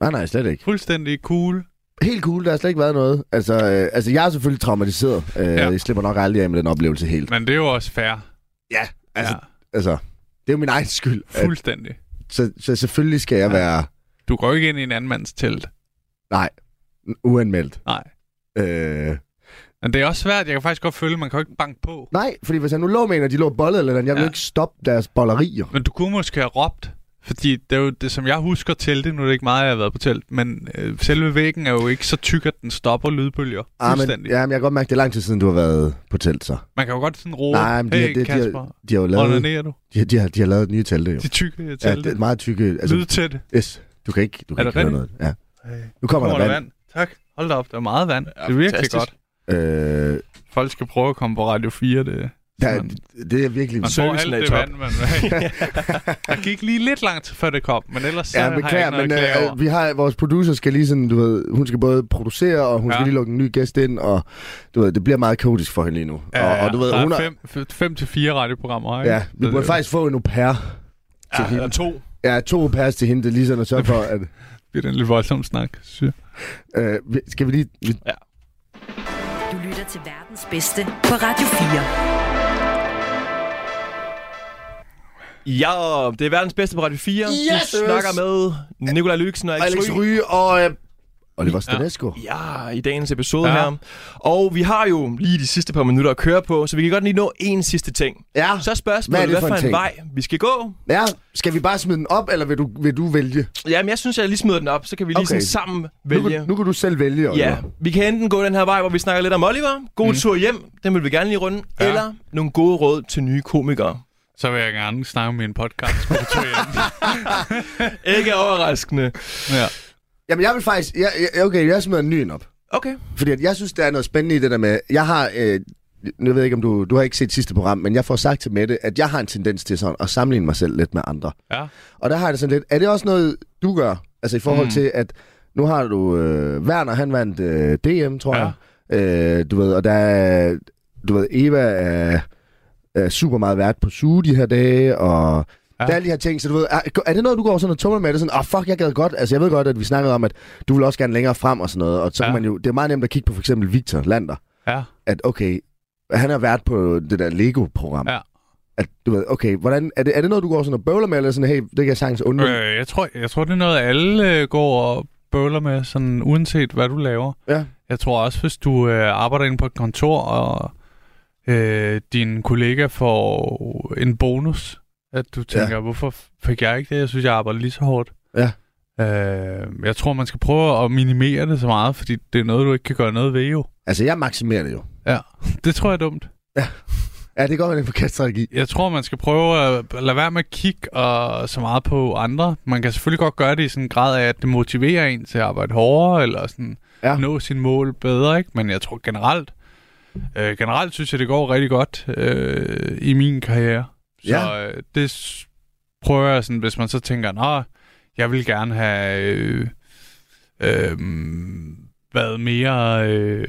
Nej, nej, slet ikke. Fuldstændig cool. Helt cool, der har slet ikke været noget. Altså, øh, altså jeg er selvfølgelig traumatiseret. Øh, Ja. ja. Jeg slipper nok aldrig af med den oplevelse helt. Men det er jo også fair. Ja, altså, Altså, ja. altså det er jo min egen skyld. ja, At, fuldstændig. så, så selvfølgelig skal jeg Ja. ja. være Du går ikke ind i en anden mands telt. uanmeldt. Nej. Øh, Men det er også svært. Jeg kan faktisk godt føle, man kan jo ikke banke på. Nej, fordi hvis han nu lå med en, og de lå bollet eller den, jeg ville Ja. ja. ikke stoppe deres bollerier. Men du kunne måske have råbt, fordi det er jo det, som jeg husker teltet. Nu er det ikke meget, jeg har været på telt, men øh, selve væggen er jo ikke så tyk, at den stopper lydbølger. Ah, men, Fuldstændig. ja, men jeg kan godt mærke, det er lang tid siden, du har været på telt, så. Man kan jo godt sådan roe. Nej, men de, hey, har- det, de, Kasper, har, de har jo lavet, onanerer du? de, har- de, har, de har lavet nye telte, jo. De tykke øh, Ja, telte. det Ja, er meget tykke. altså, Altså, Lydtætte. yes, du kan ikke, du Er kan det ikke høre noget. Ja. Nu kommer, Kommer der vand. vand? Tak. Hold da op, der er meget vand. det er virkelig fantastisk. godt. Øh, Folk skal prøve at komme på Radio 4. Det, der, man, det er virkelig... man får alt servicen er i det top. vand, man <laughs> Der gik lige lidt langt, før det kom, men ellers så Ja, har jeg beklager, ikke noget men at klage over. øh, vi har, vores producer skal lige sådan, du ved, hun skal både producere, og hun Ja. ja. skal lige lukke en ny gæst ind, og du ved, det bliver meget kaotisk for hende lige nu. Ja, og, og du ved, der hun er har, fem, f- fem til fire radioprogrammer, ikke? Ja, vi Så burde det- faktisk få en au pair. Ja, eller to. Ja, to pas til hende, det er lige sådan at sørge for, at... Det er en lidt voldsom snak, synes jeg. Øh, vi- skal vi lige... vi- Du lytter til verdens bedste på Radio 4. Ja, det er verdens bedste på Radio 4. Yes! Du snakker med Nikolaj Lyksen og Alex Alex Ry. Ryge og... Øh, Oliver Stanesco. Ja. Ja, i dagens episode Ja. ja. her. Og vi har jo lige de sidste par minutter at køre på, så vi kan godt lige nå en sidste ting. Ja. Så er Ah, Hvad er spørgsmålet, det hvad for for en en, ting? vej vi skal gå. ja. Skal vi bare smide den op, eller vil du, vil du vælge? Jamen, jeg synes, jeg lige smider den op, så kan vi lige Okay. okay. sådan sammen Nu, vælge. kan- nu kan du selv vælge, Oliver. Ja, vi kan enten gå den her vej, hvor vi snakker lidt om Oliver, god mm. tur hjem, den vil vi gerne lige runde, Ja. ja. eller nogle gode råd til nye komikere. Så vil jeg gerne snakke med en podcast på tur <laughs> hjem. Ikke overraskende. ja. Jamen, jeg vil faktisk... Jeg, jeg, okay, jeg smider en ny en op. Okay. Fordi at jeg synes, der er noget spændende i det der med... Jeg har... Øh, nu ved jeg ikke, om du, du har ikke set sidste program, men jeg får sagt til Mette, at jeg har en tendens til sådan at sammenligne mig selv lidt med andre. ja. Og der har jeg det sådan lidt, er det også noget, du gør? Altså i forhold mm. til, at nu har du øh, Werner, han vandt øh, DM, tror Ja. ja. jeg. Øh, du ved, og der er, du ved, Eva er, er super meget vært på suge de her dage, og Ja. ja. der er alle de her ting, så du ved, er, er det noget, du går sådan og tumler med? Er det sådan, ah oh, fuck, jeg gad godt, altså jeg ved godt, at vi snakkede om, at du vil også gerne længere frem og sådan noget, og så Ja. ja. man jo, det er meget nemt at kigge på for eksempel Victor Lander, Ja. at okay, han har været på det der Lego-program. Ja. At, du ved, okay, hvordan, er, det, er det noget, du går sådan og bøvler med, eller sådan, hey, det kan jeg sagtens undgå? Øh, jeg, tror, jeg tror, det er noget, alle øh, går og bøvler med, sådan, uanset hvad du laver. Ja. Jeg tror også, hvis du øh, arbejder inde på et kontor, og øh, din kollega får en bonus, at du tænker, ja. hvorfor fik jeg ikke det? Jeg synes, jeg arbejder lige så hårdt. Ja. Øh, jeg tror, man skal prøve at minimere det så meget, fordi det er noget, du ikke kan gøre noget ved jo. Altså, jeg maksimerer det jo. Ja, det tror jeg er dumt. Ja, det kan godt være det er en forkert strategi. Jeg tror, man skal prøve at lade være med at kigge og så meget på andre. Man kan selvfølgelig godt gøre det i sådan en grad af, at det motiverer en til at arbejde hårdere, eller sådan ja. Ja. nå sin mål bedre, ikke? Men jeg tror generelt, øh, generelt synes jeg, det går rigtig godt øh, i min karriere. Så Ja. øh, det s- prøver jeg sådan, hvis man så tænker, nå, jeg vil gerne have øh, øh, været mere... Øh,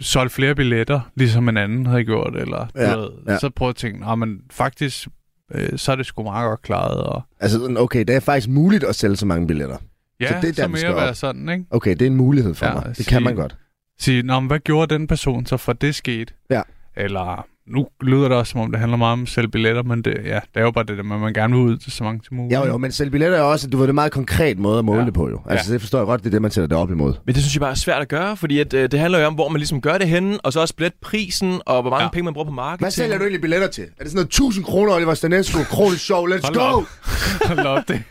solgt flere billetter, ligesom en anden havde gjort, eller ja, Ja, du ved, ja. ja. så prøver jeg at tænke, "Nå, men faktisk, øh, så er det sgu meget godt klaret, og Altså, sådan, okay, det er faktisk muligt at sælge så mange billetter. ja, Så så, det er det så der, vi mere skal være op. sådan, ikke? Okay, det er en mulighed for Ja, ja, mig. Det sige- kan man godt. Sige, nå, men hvad gjorde den person så for det skete? Ja. Eller, nu lyder det også, som om det handler meget om selv billetter, men det, ja, det er jo bare det der med, at man gerne vil ud til så mange som muligt. Ja, jo, men sælge billetter er også, du ved, det er en meget konkret måde at måle Ja. ja. det på, jo. Altså, ja. det forstår jeg godt, det er det, man sætter det op imod. Men det synes jeg bare er svært at gøre, fordi at, øh, det handler jo om, hvor man ligesom gør det henne, og så også blæt prisen, og hvor mange Ja. ja. penge man bruger på marketing. Hvad sælger du egentlig billetter til? Er det sådan noget 1000 kroner, Oliver <laughs> Stanesco, kronisk show, let's Hold da go! op. <laughs> Hold op, det.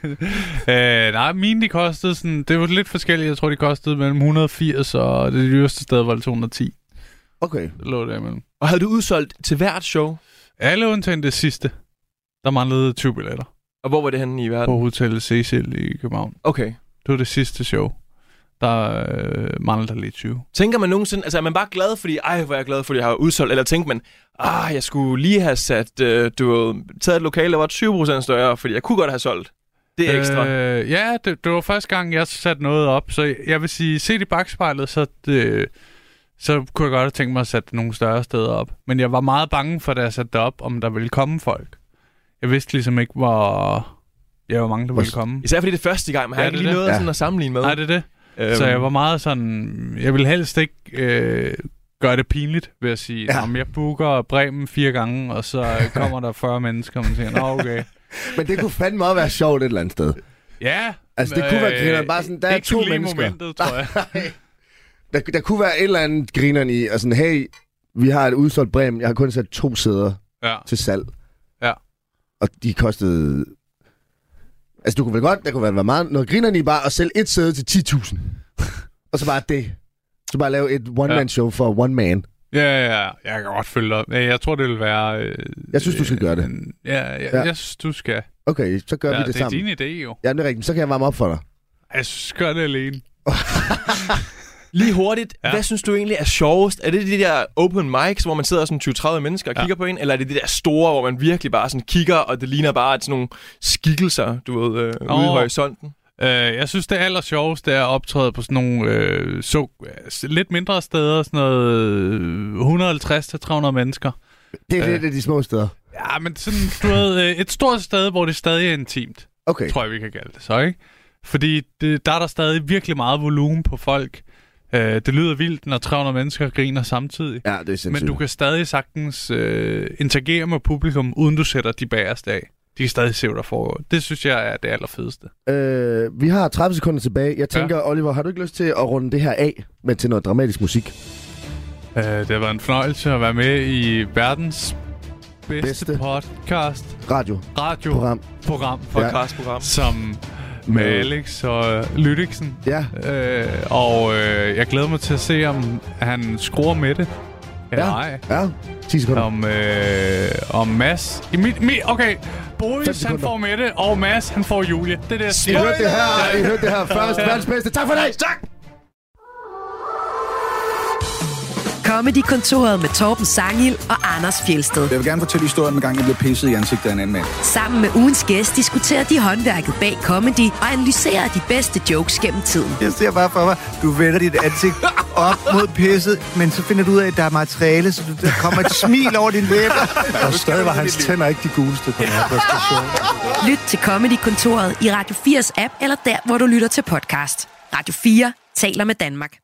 Øh, nej, mine de kostede sådan, det var lidt forskelligt, jeg tror de kostede mellem 180 og det dyreste sted var det 210, Okay. det lå der imellem. Og havde du udsolgt til hvert show? Alle undtagen det sidste. Der manglede 20 billetter Og hvor var det henne i verden? på Hotel Cecil i København. Okay. Det var det sidste show. Der øh, manglede der lige 20. Tænker man nogensinde, altså er man bare glad, fordi, ej, hvor er jeg glad, fordi jeg har udsolgt, eller tænker man, ah, jeg skulle lige have sat, øh, du ved, taget et lokale, der var 20% større, fordi jeg kunne godt have solgt. Det er ekstra. Øh, ja, det, det var første gang, jeg satte noget op. Så jeg, jeg vil sige, set i bagspejlet, så, det, så kunne jeg godt have tænkt mig at sætte nogle større steder op. Men jeg var meget bange for, da jeg satte det op, om der ville komme folk. Jeg vidste ligesom ikke, hvor, ja, hvor mange der ville komme. Især fordi det er første gang, man har Ja, ikke det er lige det. noget Ja. sådan at sammenligne med. Nej, det er det. Øhm, Så jeg var meget sådan... Jeg ville helst ikke øh, gøre det pinligt ved at sige, Ja. ja. jeg booker Bremen fire gange, og så øh, kommer der 40 <laughs> mennesker, og man siger, nå okay. Men det kunne fandme også være sjovt et eller andet sted. Ja. Altså, det kunne være grineren, bare sådan, der det er øh, ikke to lige mennesker. momentet, tror <laughs> jeg. Der, der kunne være et eller andet grineren i, og sådan, hey, vi har et udsolgt brem, jeg har kun sat to sæder ja. til salg. Ja. Og de kostede... Altså, du kunne vel godt, der kunne vel være meget noget grinerne i bare at sælge et sæde til 10.000. og så bare det. Så bare lave et one-man-show for one man. Ja, ja, ja, jeg kan godt følge dig. Men Jeg tror, det vil være... Øh, Jeg synes, du skal øh, gøre det. en- Ja, ja, ja, Ja. jeg synes, du skal. Okay, så gør ja, ja, vi det, det er sammen. din idé jo. Jamen, det er rigtigt. Så kan jeg varme op for dig. Jeg synes, gør det alene. Lige hurtigt, Ja. ja. hvad synes du egentlig er sjovest? Er det de der open mics, hvor man sidder sådan 20-30 mennesker og Ja. ja. kigger på en? Eller er det de der store, hvor man virkelig bare sådan kigger, og det ligner bare at sådan nogle skikkelser, du ved, øh, oh. ude i Åh. horisonten? Øh, jeg synes, det aller sjoveste er at optræde på sådan nogle øh, så, øh, lidt mindre steder, sådan noget øh, 150-300 mennesker. Det er Ja. lidt af de små steder. Ja, men sådan, du ved, øh, et stort sted, hvor det stadig er intimt. Okay. tror jeg, vi kan kalde det så, ikke? Fordi det, der er der stadig virkelig meget volumen på folk. Øh, det lyder vildt, når 300 mennesker griner samtidig. Ja, det er sindssygt. Men du kan stadig sagtens øh, interagere med publikum, uden du sætter de bagerste af. De kan stadig se, hvad der foregår. Det synes jeg er det allerfedeste. Øh, vi har 30 sekunder tilbage. Jeg tænker, ja. Oliver, har du ikke lyst til at runde det her af med til noget dramatisk musik? Øh, det har været en fornøjelse at være med i verdens bedste, Bedste. bedste. podcast, Radio. radio, Program. program Ja. Podcast-program. som med Med- Alex og Lydiksen. Ja. Øh, og øh, jeg glæder mig til at se, om han skruer med det. Eller ja. ej. Ja. 10 sekunder. Om, øh, om Mads... I mit, mi, okay, Fem Boris han sekunder. får Mette, og Mads han får Julie. Det er det, jeg I siger. hørte det her, I hørte det her først. Verdens bedste. Tak for i dag. Tak! Comedy-kontoret med Torben Sangil og Anders Fjelsted. Jeg vil gerne fortælle historien om en gang, jeg blev pisset i ansigtet af en anden mand. Sammen med ugens gæst diskuterer de håndværket bag comedy og analyserer de bedste jokes gennem tiden. Jeg ser bare for mig, du vender dit ansigt op mod pisset, men så finder du ud af, at der er materiale, så du- der kommer et smil over din læber. Og stadig var hans tænder ikke de guleste på den her præstation. Lyt til Comedy-kontoret i Radio 4's app, eller der, hvor du lytter til podcast. Radio 4 taler med Danmark.